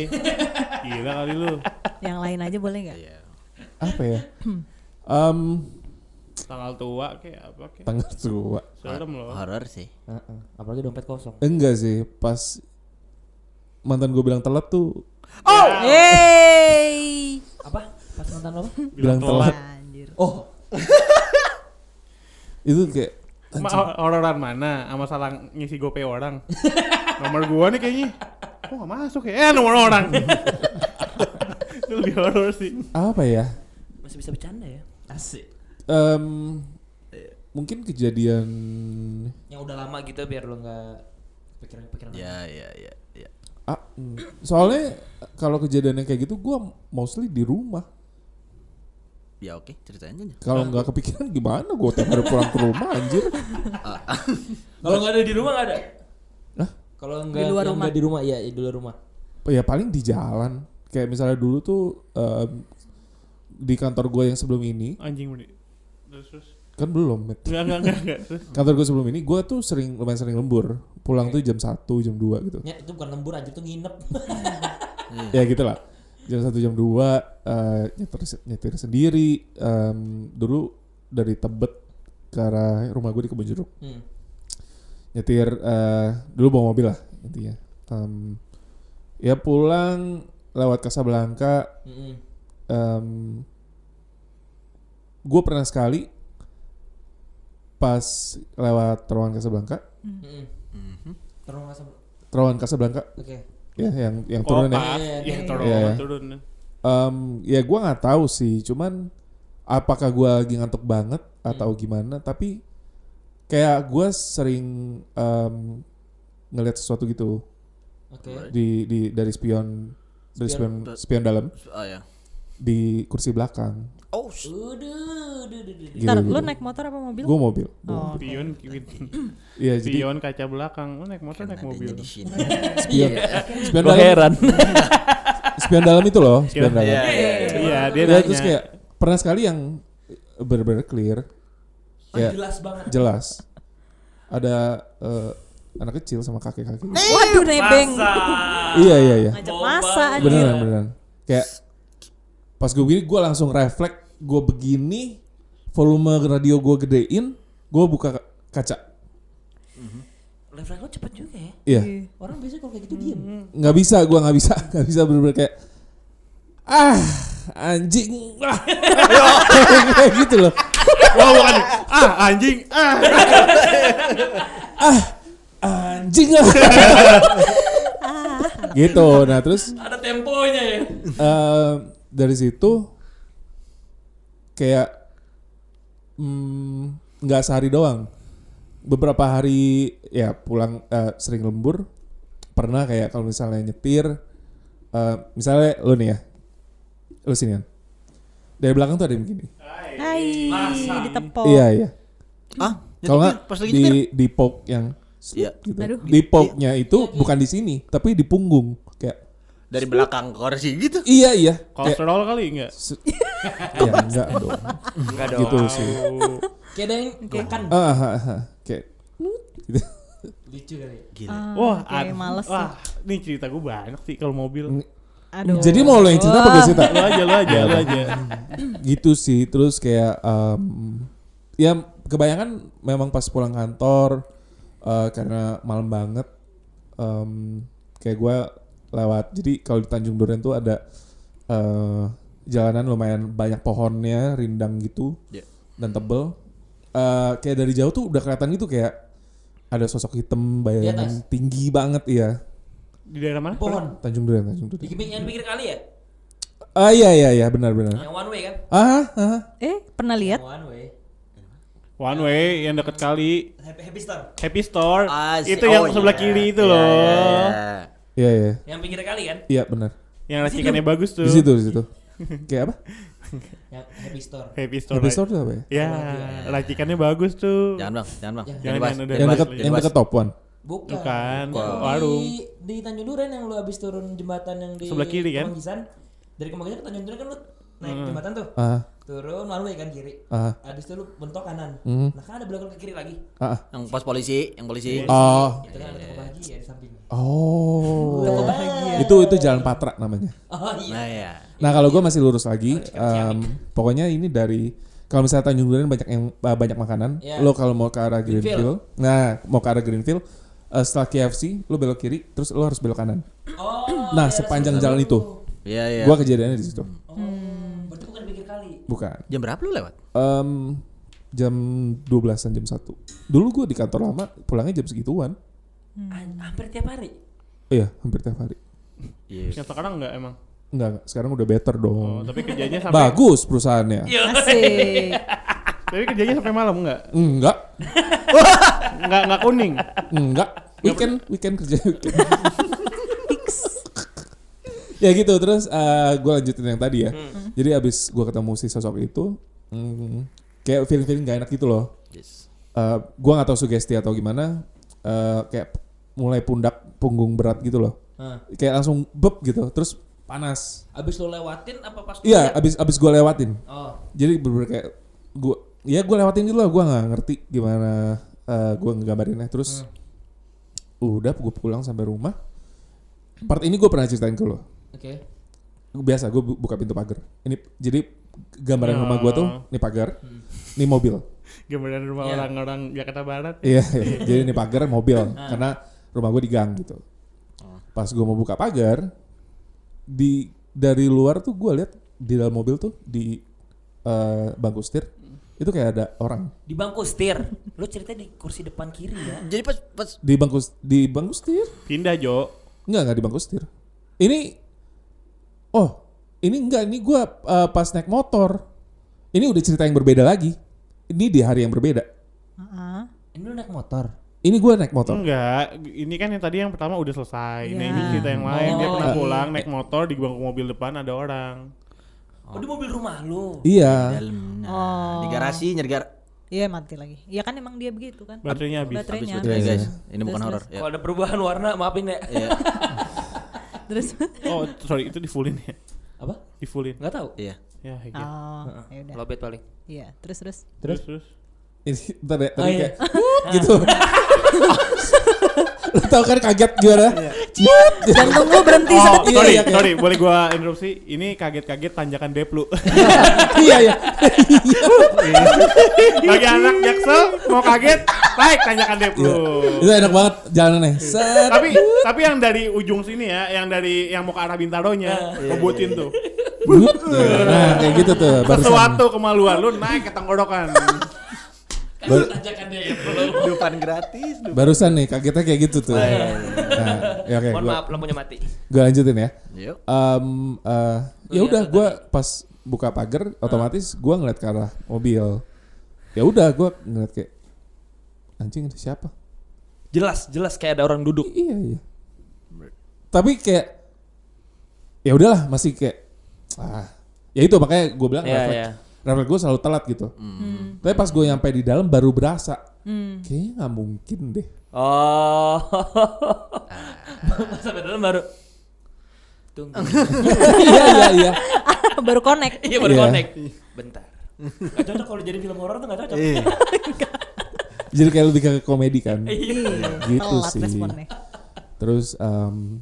S5: Gila kali lu.
S6: Yang lain aja boleh nggak?
S4: Iya,
S7: Apa ya? Mmm, Em
S5: Tanggal tua kayak apa kayak.
S7: tanggal tua.
S5: Serem loh.
S3: Horor sih.
S2: Apalagi dompet kosong.
S7: Enggak sih, pas mantan gue bilang telat tuh
S6: Hey.
S2: Apa? Pas mantan lo apa?
S7: bilang, telat.
S6: Anjir.
S7: Oh. itu kayak
S5: Ma hororan mana? Sama salah ngisi GoPay orang. nomor gua nih kayaknya. Kok gak masuk ya? Eh nomor orang. Itu lebih horor sih.
S7: apa ya?
S2: Masih bisa bercanda ya? Asik.
S7: Em, mungkin kejadian
S2: Yang udah lama gitu biar lo nggak pikiran-pikiran.
S3: Ya, ya, ya, ya.
S7: ah, mm, soalnya kalau kejadian yang kayak gitu gue mostly di rumah.
S3: Ya oke, ceritain aja.
S7: Kalau nggak kepikiran gimana gue tiap hari pulang ke rumah anjir.
S2: Kalau nggak ada di rumah nggak ada.
S7: Hah?
S2: Kalau nggak
S6: luar
S2: yang
S6: rumah.
S2: nggak di rumah iya di luar rumah.
S7: ya paling di jalan kayak misalnya dulu tuh em, di kantor gue yang sebelum ini
S5: Anjing bener. Terus terus.
S7: kan belum Matt.
S5: Enggak enggak enggak enggak. Terus.
S7: kantor gue sebelum ini gue tuh sering lumayan sering lembur pulang tuh jam 1, jam 2 gitu
S4: Ya, itu bukan lembur anjir tuh nginep.
S7: ya gitu lah jam 1, jam 2 eh, nyetir, nyetir sendiri Em, dulu dari Tebet ke arah rumah gue di Kebun Jeruk
S4: Hmm.
S7: nyetir eh, dulu bawa mobil lah intinya Em, ya pulang lewat Casablanca
S4: Mm-mm.
S7: gue pernah sekali pas lewat terowongan Casablanca
S4: Mm-mm. Terus nggak sem-
S7: terowongan Casablanca
S4: Oke.
S7: ya yang yang turun ya
S5: Kopat.
S4: Iya,
S5: Iya
S4: iya,
S5: turun
S7: iya.
S5: turun.
S7: Em, ya gue nggak tahu sih cuman apakah gue lagi ngantuk banget atau
S3: Hmm.
S7: gimana tapi kayak gue sering em, ngelihat sesuatu gitu
S4: Oke.
S7: di di dari spion dari spion
S3: Spion-
S7: spion dalam
S3: Oh ya.
S7: di kursi belakang
S3: Oh. sh-
S4: Udah, udah, udah. udah.
S7: gitu,
S6: Ntar lu naik motor apa mobil?
S7: gue mobil
S6: Oh, oke.
S5: Pion Pion.
S7: Iya, jadi
S5: Pion kaca belakang. Lu naik motor naik
S3: Adanya
S5: mobil.
S3: di sini.
S7: spion spion
S2: Gue
S7: dalam
S2: heran.
S7: spion dalam itu loh spion dalam
S3: Iya, iya, iya.
S5: Iya, dia
S7: Ya, terus
S5: nanya.
S7: kayak pernah sekali yang bener-bener clear
S4: Oh,
S7: ya
S4: jelas banget.
S7: jelas ada eh, anak kecil sama kakek-kakek
S6: Waduh nebeng.
S7: iya iya iya
S6: Ngajak masa aja.
S7: beneran
S4: iya.
S7: beneran kayak pas gue begini gue langsung refleks gue begini volume radio gue gedein gue buka ka- kaca
S4: Mm-hmm. Refleks lo cepet juga ya.
S7: iya Mm-hmm.
S4: Orang biasanya kalau kayak gitu diem.
S7: nggak bisa gue nggak bisa nggak bisa bener-bener kayak ah anjing ah. kayak gitu loh
S5: Wah, bukan. Ah, anjing. Ah.
S7: anjing lah gitu nah terus
S4: Ada temponya ya.
S7: eh, dari situ kayak mm, nggak sehari doang beberapa hari ya pulang eh, sering lembur pernah kayak kalau misalnya nyetir eh, misalnya lu nih ya lu sinian dari belakang tuh ada yang begini
S6: Hai, ditepok.
S7: iya iya
S3: Ah,
S7: kalau
S3: nyetir,
S7: nggak
S3: pas lagi nyetir.
S7: di di pok yang
S3: Iya.
S7: gitu.
S6: Aduh.
S7: di popnya
S4: Iya,
S7: itu bukan di sini tapi di punggung kayak
S3: dari belakang kursi gitu.
S7: iya iya kayak
S5: Kolesterol kali enggak?
S7: Se- ya enggak dong. Enggak dong. Gitu sih.
S4: Kayak ada yang makan.
S7: Ah, ah, ah. Kayak gitu.
S4: Lucu kali.
S6: Ah,
S5: Wah,
S6: oke,
S5: an-
S6: males sih.
S5: Wah, nih cerita gue banyak sih kalau mobil.
S6: Aduh.
S7: Jadi mau lo yang cerita apa gue cerita?
S5: Lu aja, lu
S7: Iya,
S5: aja, lu aja.
S7: Gitu sih. Terus kayak em, ya kebayangan memang pas pulang kantor eh, karena malam banget em, kayak gue lewat. Jadi kalau di Tanjung Duren tuh ada eh, jalanan lumayan banyak pohonnya, rindang gitu.
S3: Iya.
S7: Dan tebel. Eh, kayak dari jauh tuh udah kelihatan gitu kayak ada sosok hitam bayangan tinggi banget iya.
S5: Di daerah mana?
S4: Pohon.
S7: Tanjung Duren, Tanjung Duren.
S4: Bikin yang pinggir kali ya.
S7: Ah iya iya iya benar benar.
S4: Yang one way kan.
S7: Ah ah.
S6: Eh, pernah lihat?
S4: One way.
S5: One way yang deket kali.
S4: Happy, happy star.
S5: Happy Store.
S3: Ah, si-
S5: itu yang
S3: oh,
S5: sebelah
S3: iya.
S5: kiri itu
S3: Iya,
S5: loh.
S3: iya, iya.
S7: Iya iya.
S4: Yang pinggir kali kan.
S7: Iya benar.
S5: Yang racikannya bagus tuh.
S7: Di situ di situ. Kayak apa?
S4: Yang happy store.
S5: Happy Store.
S7: Happy Store itu apa ya?
S5: Ya, racikannya bagus tuh.
S3: Jangan bang, jangan bang.
S5: Jangan,
S3: dibahas,
S5: jangan, udah
S7: Yang
S3: dibahas,
S7: dekat yang
S3: dibahas.
S7: dekat Top One.
S4: Bukan.
S5: Bukan,
S4: Yang di-
S5: warung.
S4: Di Tanjung Duren yang lu abis turun jembatan yang di
S5: Sebelah kiri kan?
S4: Kemanggisan. Dari Kemanggisan ke Tanjung Duren kan lu naik
S2: Hmm.
S4: jembatan tuh.
S7: Ah
S4: Turun one
S2: ya
S4: way kan kiri.
S7: ah
S4: Abis itu lu bentok kanan.
S7: Hmm.
S4: Nah, kan ada belakang ke kiri lagi.
S7: ah.
S3: Yang pos polisi, yang polisi.
S5: Iya.
S3: Nah,
S7: Oh.
S4: Itu kan ada toko bahagia ya di samping.
S7: Oh.
S4: Toko bahagia.
S7: Itu itu Jalan Patra namanya.
S4: Oh iya.
S3: Nah ya.
S7: Nah kalau gue masih lurus lagi, em, pokoknya ini dari kalau misalnya Tanjung Duren banyak yang eh, banyak makanan,
S4: Iya.
S7: lo kalau mau ke arah Greenfield, nah mau ke arah Greenfield, eh, setelah KFC lo belok kiri, terus lo harus belok kanan.
S4: Oh.
S7: Nah sepanjang jalan itu,
S3: Iya iya.
S7: gue kejadiannya di situ,
S4: Oh. Berarti bukan pinggir kali.
S7: bukan.
S3: Jam berapa lu lewat?
S7: Em, jam 12-an jam 1 Dulu gue di kantor lama pulangnya jam segituan
S2: Hmm.
S4: An-
S2: Ah,
S4: hampir tiap hari.
S7: Iya hampir tiap hari
S3: Iya.
S5: Yang sekarang enggak emang.
S7: Enggak, enggak, sekarang udah better
S5: Oh,
S7: dong
S5: tapi kerjanya sampai Iya.
S7: Bagus perusahaannya
S6: Asik.
S5: tapi kerjanya sampai malam enggak?
S7: Enggak,
S5: Enggak enggak kuning.
S7: enggak Weekend, weekend kerja weekend Ya gitu, terus gue lanjutin yang tadi ya Jadi abis gue ketemu si sosok itu mm, Kayak feeling-feeling gak enak gitu loh
S3: Yes.
S7: Eh, Gue gak tahu sugesti atau gimana eh, Kayak mulai pundak punggung berat gitu loh
S4: Hah.
S7: kayak langsung bep gitu terus panas
S2: Abis lo lewatin apa pas?
S7: iya abis abis gue lewatin
S2: Oh.
S7: jadi bener kayak gue ya gue lewatin gitu lah gue nggak ngerti gimana eh, gue ngegambarinnya terus udah gue pulang sampai rumah part ini gue pernah ceritain ke lo
S2: Oke.
S7: biasa gue buka pintu pagar ini jadi gambaran
S5: Oh.
S7: rumah gue tuh ini pagar ini mobil
S5: Gambaran rumah
S2: Iya.
S5: orang-orang Jakarta Barat.
S7: Iya, iya. jadi ini pagar mobil karena rumah gue di gang gitu. Pas gue mau buka pagar di dari luar tuh gue lihat di dalam mobil tuh di eh, bangku setir itu kayak ada orang
S2: Di bangku setir. Lo cerita di kursi depan kiri ya.
S3: Jadi pas pas
S7: di bangku di bangku setir
S5: Pindah Jo.
S7: Enggak, enggak di bangku setir. Ini Oh, ini enggak, ini gua eh, pas naik motor. Ini udah cerita yang berbeda lagi. Ini di hari yang berbeda.
S6: Ah, ah.
S2: Ini lo naik motor.
S7: Ini gua naik motor.
S5: Enggak, ini kan yang tadi yang pertama udah selesai. Nah,
S6: Iya.
S5: ini cerita yang lain. Dia
S2: Oh,
S5: pernah
S2: iya.
S5: pulang naik motor di bangku mobil depan ada orang.
S2: Oh, di mobil rumah lo.
S7: Iya.
S3: dalam nah,
S6: Oh.
S3: di garasi nyari gar
S6: Iya mati lagi. Iya kan emang dia begitu kan.
S5: Baterainya habis.
S3: habis
S6: Baterainya.
S3: baterai guys. Ini bukan
S6: Terus,
S3: horor. Ya.
S2: Kalau ada perubahan warna maafin ya.
S3: Iya.
S6: Terus.
S5: Oh, t- sorry itu di fullin ya.
S2: Apa?
S5: Di fullin.
S2: Enggak tahu.
S3: Iya.
S5: Ya,
S7: Ah.
S5: kayak gitu.
S6: Oh, ya udah.
S2: Lobet paling.
S6: Iya, terus terus.
S5: Terus terus.
S7: Ini bentar ya, tadi
S2: Oh, iya.
S7: kayak "Wup," gitu. Lu tau kan kaget gimana? gitu. Ciut.
S6: Jantung lu berhenti
S5: Oh,
S6: sedetik.
S5: sorry,
S7: Iya, iya,
S5: sorry, boleh gua interupsi. Ini kaget-kaget tanjakan deplu.
S7: Iya, iya.
S5: Bagi anak jaksel mau kaget, naik tanjakan deplu.
S7: Itu enak banget jalanannya. Set.
S5: tapi tapi yang dari ujung sini ya, yang dari yang mau ke arah
S7: Iya,
S5: Bintaronya, ngebutin tuh.
S7: Wup. Nah, kayak gitu tuh. iya. Barusan. Eh.
S5: Sesuatu kemaluan lu naik ke tenggorokan.
S7: Baru-
S2: ya,
S3: Dupan gratis. dupan.
S7: Barusan nih kagetnya kayak gitu tuh. Nah, ya oke,
S2: Mohon
S7: gua,
S2: maaf lampunya mati.
S7: gua lanjutin ya.
S3: Yuk.
S7: Em, eh, ya
S2: Lihat
S7: udah,
S2: tuh
S7: gua pas buka pagar, otomatis gua ngeliat ke arah mobil. Ya udah, gua ngeliat kayak anjing itu siapa?
S2: Jelas, jelas kayak ada orang duduk.
S7: Iya iya. Tapi kayak ya udahlah masih kayak ah ya itu makanya gue bilang
S2: Iya,
S7: refleks
S2: iya.
S7: refleks gue selalu telat gitu. Tapi pas gue nyampe di dalam baru berasa kayaknya nggak mungkin deh.
S2: Oh. Ah. Pas sampai dalam baru tunggu.
S7: iya iya iya.
S6: Baru connect.
S2: Iya baru
S7: Iya.
S2: connect. Bentar. Gak cocok kalau jadi film horor tuh gak cocok.
S7: Jadi kayak lebih ke komedi kan.
S6: Iya.
S7: Gitu
S6: Telat
S7: sih.
S6: responnya.
S7: Terus em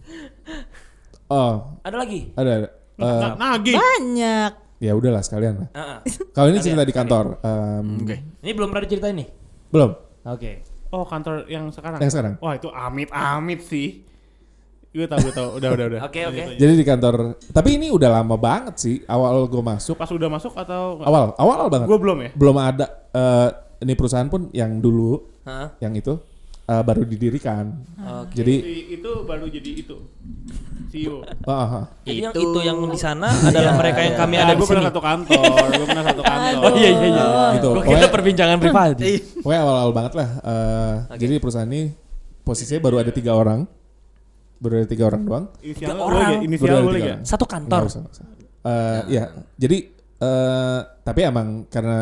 S7: oh
S2: Ada lagi?
S7: ada, ada. Eh,
S5: Nah, nagih.
S6: Banyak.
S7: ya udahlah sekalian lah.
S2: Heeh.
S7: Kalau ini cerita di kantor. Em,
S2: Ini belum pernah diceritain nih.
S7: Belum.
S2: Oke.
S5: Oh kantor yang sekarang?
S7: Yang sekarang.
S5: Wah itu amit-amit sih. Gue tau, gue tau. Udah, udah, udah.
S2: Oke, oke.
S7: Jadi di kantor. Tapi ini udah lama banget sih awal gue masuk.
S5: Pas udah masuk atau?
S7: awal awal awal banget
S5: Gue belum ya?
S7: belum ada eh, ini perusahaan pun yang dulu
S2: Heeh.
S7: yang itu eh, baru didirikan
S2: Oke.
S7: jadi
S5: Si itu baru jadi itu. E CEO.
S7: ah, ah, ah.
S2: Jadi yang
S3: Itu-
S2: itu Iya. yang di sana adalah mereka yang kami ada
S5: Ada
S2: di
S5: gue pernah
S2: sini.
S5: satu kantor. gue pernah satu kantor.
S2: Oh iya iya iya.
S7: Gitu.
S2: Gua kira
S7: Pokoknya-
S2: perbincangan pribadi.
S7: pokoknya awal awal banget lah eh, jadi perusahaan ini posisinya baru ada tiga orang baru ada tiga orang doang
S5: Inisial
S2: Tiga
S5: boleh
S2: orang.
S5: gak? Inisial
S7: Baru ada
S5: boleh
S7: tiga
S5: gak?
S7: orang.
S2: Satu kantor. Nah.
S7: Nggak usah, nggak usah. Eh, ya jadi eh, tapi emang karena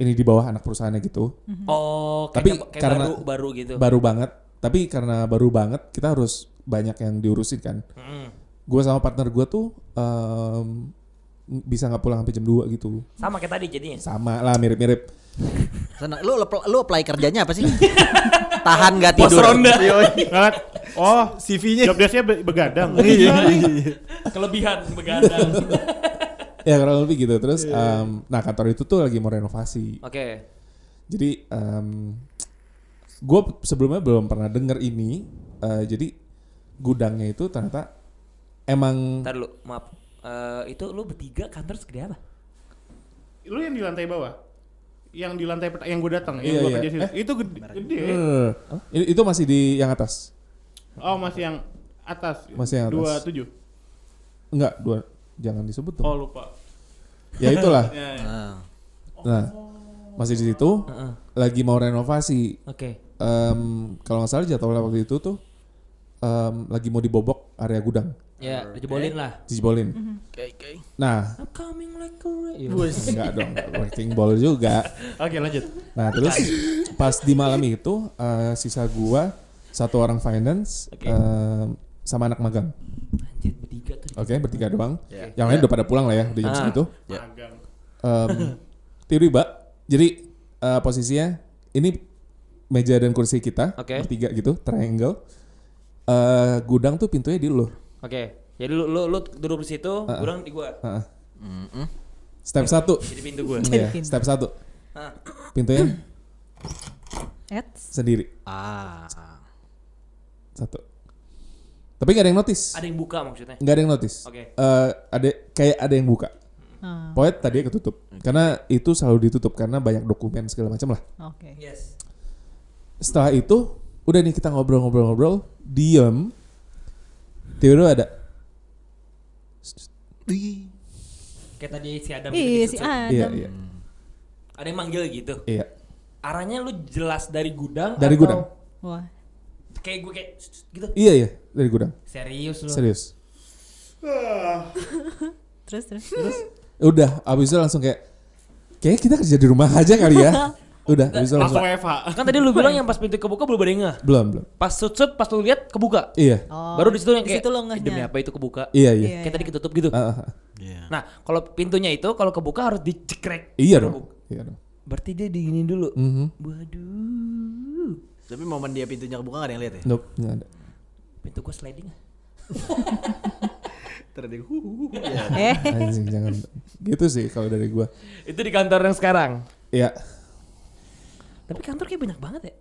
S7: ini di bawah anak perusahaannya gitu
S2: Oh, kayak,
S7: Tapi
S2: kayak
S7: karena-
S2: baru baru gitu.
S7: baru banget tapi karena baru banget kita harus banyak yang diurusin kan
S2: Mm.
S7: gue sama partner gue tuh em, bisa nggak pulang sampai jam 2 gitu
S2: Sama kayak tadi jadinya.
S7: sama lah mirip-mirip
S3: Sana lu lu- lu apply kerjanya apa sih? Tahan gak tidur.
S2: Iya,
S3: Yoi.
S5: Ngeliat, Oh,
S3: CV-nya.
S5: job desk-nya be- begadang.
S2: Iya,
S5: Iya.
S2: Kelebihan begadang. Oke.
S7: ya kurang lebih gitu terus em, nah kantor itu tuh lagi mau renovasi jadi gue sebelumnya belum pernah denger ini eh, jadi gudangnya itu ternyata emang
S2: Ntar lu, maaf. Eh, itu lu bertiga kantor segede apa?
S5: Lu yang di lantai bawah? Yang di lantai pertama, yang gue datang, yang
S7: Iya,
S5: gue
S7: iya.
S5: kerja situ.
S7: Eh.
S5: Itu gede. gede.
S7: Eh, i- itu masih di yang atas
S5: Oh, masih yang atas.
S7: Masih yang atas.
S5: Dua tujuh.
S7: enggak dua jangan disebut tuh
S5: Oh, lupa.
S7: ya itulah
S5: Ya, ya.
S3: Ah.
S7: nah masih di situ
S2: Heeh.
S7: lagi mau renovasi
S2: Oke.
S7: Em, kalau nggak salah jadwalnya waktu itu tuh em, lagi mau dibobok area gudang
S2: Ya, jebolin lah.
S7: dijebolin
S3: Oke, oke.
S7: nah
S2: I'm coming like a rain.
S7: nggak dong nggak wrecking ball juga
S2: Oke, lanjut.
S7: nah terus pas di malam itu eh, sisa gua satu orang finance em, eh, sama anak magang
S2: Anjir, bertiga tuh.
S7: Oke, bertiga doang.
S3: Iya.
S7: Yang lain udah pada pulang lah ya, udah jam
S2: Ah.
S7: segitu.
S3: Ya.
S5: magang.
S7: Em, tiba-tiba, jadi eh, posisinya ini meja dan kursi kita
S2: Oke.
S7: bertiga gitu, triangle. Eh, gudang tuh pintunya di lu.
S2: Oke. Jadi lu lu, lu duduk di situ, kurang di gua.
S7: Heeh.
S3: Mm-mm.
S7: Step satu.
S2: Jadi pintu gua.
S6: Jadi
S7: Iya,
S6: pintu.
S7: step satu. Pintunya
S6: Eits.
S7: sendiri
S3: Ah.
S7: satu. Tapi gak ada yang notice.
S2: Ada yang buka maksudnya.
S7: Nggak ada yang notice.
S2: Oke.
S7: Eh, ada kayak ada yang buka.
S6: Ah,
S7: Pokoknya tadi ketutup. Karena itu selalu ditutup karena banyak dokumen segala macam lah.
S6: Oke.
S2: Yes.
S7: Setelah itu udah nih kita ngobrol-ngobrol-ngobrol, diem. Tiba-tiba ada
S2: Kayak tadi si Adam itu
S6: Ih, si
S2: dicucuk.
S7: iya
S6: Adam.
S7: iya
S2: Ada yang manggil gitu.
S7: iya
S2: Arahnya lu jelas dari gudang
S7: dari
S2: atau
S7: gudang.
S6: Wah.
S2: Kayak gue kayak "Sst, sst," gitu.
S7: Iya iya dari gudang.
S2: Serius lu.
S7: Serius.
S6: Terus terus terus.
S7: Udah abis itu langsung kayak kayak kita kerja di rumah aja kali ya. Udah abis itu
S5: Langsung
S7: langsung
S5: Eva.
S2: Kan tadi lu bilang yang pas pintu kebuka belum ada yang ngeh.
S7: belum belum.
S2: Pas sut-sut pas lu lihat kebuka.
S7: Iya
S6: Oh,
S2: Baru di situ yang
S6: di situ
S2: kayak
S6: lo
S2: "Ih,
S6: ngehnya."
S2: demi apa itu kebuka.
S7: iya iya.
S6: Iya,
S2: Kayak
S6: iya.
S2: tadi ketutup gitu.
S7: Ah, ah, ah.
S2: Nah, kalau pintunya itu kalau kebuka harus dicekrek.
S7: iya
S2: Baru
S7: dong.
S2: buka.
S7: Iya dong.
S2: Berarti dia digini dulu.
S7: Mhm.
S2: Waduh.
S3: Tapi momen dia pintunya kebuka gak ada yang lihat ya?
S7: Nope nggak ada.
S2: Pintu gua sliding.
S3: Terus dia hu hu, hu.
S6: Eh,
S7: Anjing jangan. Gitu sih kalau dari gua.
S2: Itu di kantor yang sekarang.
S7: Iya.
S2: Tapi kantor kayak banyak banget ya.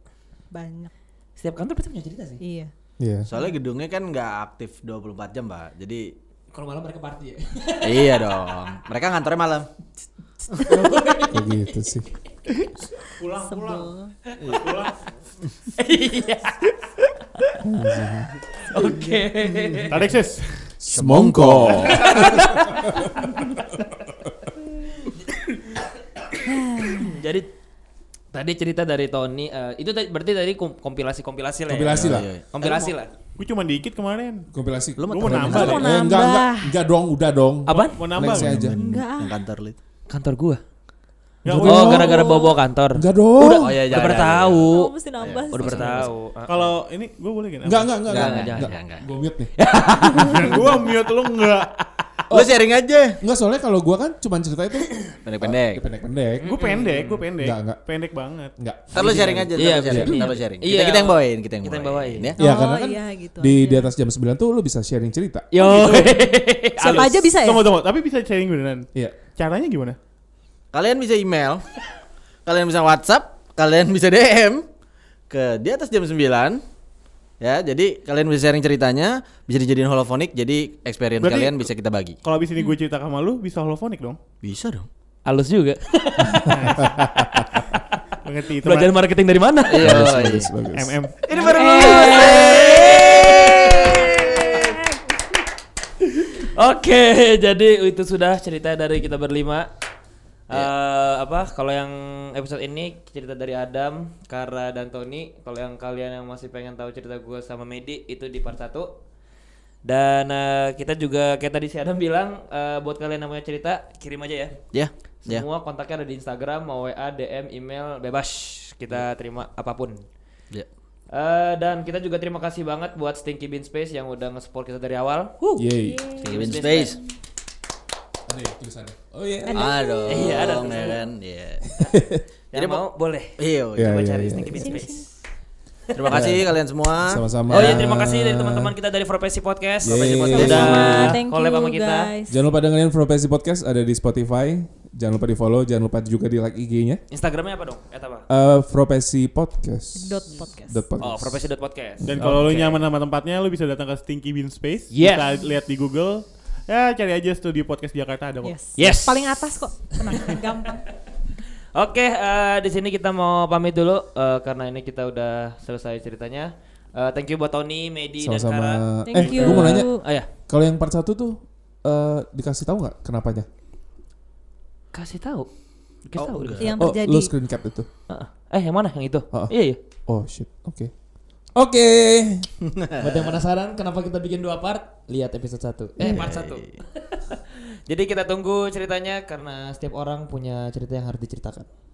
S6: banyak.
S2: Setiap kantor pasti punya cerita sih.
S6: Iya.
S7: Iya.
S3: Soalnya gedungnya kan nggak aktif 24 jam, Pak. Jadi
S2: Kalau malam mereka party ya.
S3: iya dong. Mereka ngantornya malam.
S7: Kayak gitu sih.
S5: Pulang, pulang.
S6: Sebel.
S2: Iya. Oke.
S6: Iya.
S7: Iya.
S5: Tarik sis.
S7: Semongko.
S2: Jadi tadi cerita dari Tony eh, itu tadi- berarti tadi kom- kompilasi-kompilasi lah. ya?
S7: Kompilasi lah.
S3: Iya, iya.
S2: Kompilasi lah.
S5: Gue cuma dikit kemarin.
S7: Kompilasi.
S3: Lu mau
S5: Lu mau nambah
S6: Lu mau
S7: Eh,
S5: deh.
S7: enggak,
S6: nambah.
S7: enggak, enggak dong, udah dong.
S2: Apaan?
S5: Mau
S7: Lain
S5: nambah.
S7: saya aja.
S6: Enggak ah.
S3: Yang kantor lit.
S2: Kantor gua.
S5: Nggak,
S2: Oh,
S5: udah.
S2: gara-gara bawa-bawa kantor.
S7: Enggak dong.
S2: Udah,
S3: Oh, iya,
S2: udah
S3: jangan,
S2: pernah
S3: jangan,
S2: tahu.
S6: Oh, mesti nambah.
S2: Udah
S6: sih.
S2: pernah tahu.
S5: Kalau ini gue boleh gak?
S7: Enggak, enggak, enggak.
S3: Enggak,
S7: enggak,
S3: enggak,
S7: enggak.
S3: enggak.
S7: Gua mute nih.
S5: gue mute lu enggak.
S3: Lu sharing aja.
S7: Enggak soalnya kalau gua kan cuman cerita itu Oh,
S3: Pendek-pendek.
S7: pendek-pendek.
S5: Gue pendek, gue pendek.
S7: Enggak, enggak.
S5: Pendek banget.
S7: Enggak.
S3: Ntar lu sharing aja, ntar
S2: Iya,
S3: lu sharing,
S2: iya.
S3: ntar lu sharing.
S2: Iya.
S3: Kita, kita yang bawain, kita yang
S2: Kita yang
S3: bawain.
S2: bawain.
S3: Ya.
S7: Ya
S6: Oh,
S7: karena kan
S6: iya, gitu
S7: di
S6: aja.
S7: di atas jam 9 tuh lu bisa sharing cerita.
S2: Yo.
S6: Siapa aja bisa ya?
S5: Tunggu, tunggu. Tapi bisa sharing beneran.
S7: Iya.
S5: Caranya gimana?
S3: Kalian bisa email, kalian bisa WhatsApp, kalian bisa DM ke di atas jam 9. Ya, jadi kalian bisa sharing ceritanya, bisa dijadiin holofonik, jadi experience
S5: Berarti-
S3: kalian bisa kita bagi.
S5: Kalau abis ini gue cerita sama lu, bisa holofonik dong.
S3: Bisa dong.
S2: Halus juga.
S5: Mengerti itu.
S2: Belajar
S5: Mas.
S2: marketing dari mana?
S3: Iya.
S7: Bagus,
S3: iya.
S7: bagus, bagus.
S5: MM.
S3: Ini
S2: Eh.
S3: baru
S2: Oke, jadi itu sudah cerita dari kita berlima. Eh, apa kalau yang episode ini cerita dari Adam, Kara dan Tony. Kalau yang kalian yang masih pengen tahu cerita gue sama Medi itu di part 1. Dan eh, kita juga kayak tadi si Adam bilang eh, buat kalian yang punya cerita kirim aja ya.
S3: Ya, ya.
S2: Semua kontaknya ada di Instagram, mau WA, DM, email, bebas. Kita terima apapun.
S3: Ya.
S2: Eh, dan kita juga terima kasih banget buat Stinky Bean Space yang udah nge-support kita dari awal.
S7: Yeay.
S3: Kevin Space.
S7: Ada ya tulisannya. Oh iya.
S3: Aduh.
S2: Iya, ada tuh.
S3: ya kan. Iya.
S2: Yang mau boleh.
S3: Iya.
S7: Iya,
S2: Coba
S7: iya,
S2: cari
S7: iya,
S2: Stinky
S7: iya.
S2: Bean Space.
S3: Terima kasih kalian semua.
S7: Sama-sama.
S2: Oh iya terima kasih dari teman-teman kita dari Profesi Podcast.
S7: Yeay.
S2: Profesi Podcast udah
S6: Sama-sama. Thank you
S2: collab sama kita.
S6: guys.
S7: Jangan lupa dengerin Profesi Podcast ada di Spotify. Jangan lupa di follow, jangan lupa juga di like IG-nya.
S2: Instagramnya apa dong? Eta apa?
S7: Eh Profesi Podcast.
S6: Dot podcast.
S7: Dot podcast.
S2: Oh, profesi.podcast.
S5: Dan kalau lu nyaman sama tempatnya, lu bisa datang ke Stinky Bean Space.
S2: Yes.
S5: Bisa lihat di Google. Ya cari aja Studio Podcast Jakarta ada kok.
S6: Yes.
S2: Yes.
S6: Paling atas kok. Tenang, gampang.
S2: Oke, eh, di sini kita mau pamit dulu eh, karena ini kita udah selesai ceritanya. Eh, thank you buat Tony, Medi dan Kara.
S7: Sama-sama.
S6: Thank
S7: eh,
S6: you.
S7: gue mau nanya.
S2: Oh ya,
S7: Kalau yang part 1 tuh eh, dikasih tahu nggak kenapanya?
S2: kasih tahu. Kasih tahu. dikasih
S6: Yang
S7: Oh,
S6: terjadi.
S7: lu screen cap itu.
S2: tahu. Ah, Eh, yang mana? Yang itu?
S7: Ah, ah.
S2: Iya, iya.
S7: Oh shit. Oke. Oke.
S4: Buat yang penasaran kenapa kita bikin dua part, lihat episode 1.
S2: Eh, part satu. Jadi kita tunggu ceritanya karena setiap orang punya cerita yang harus diceritakan.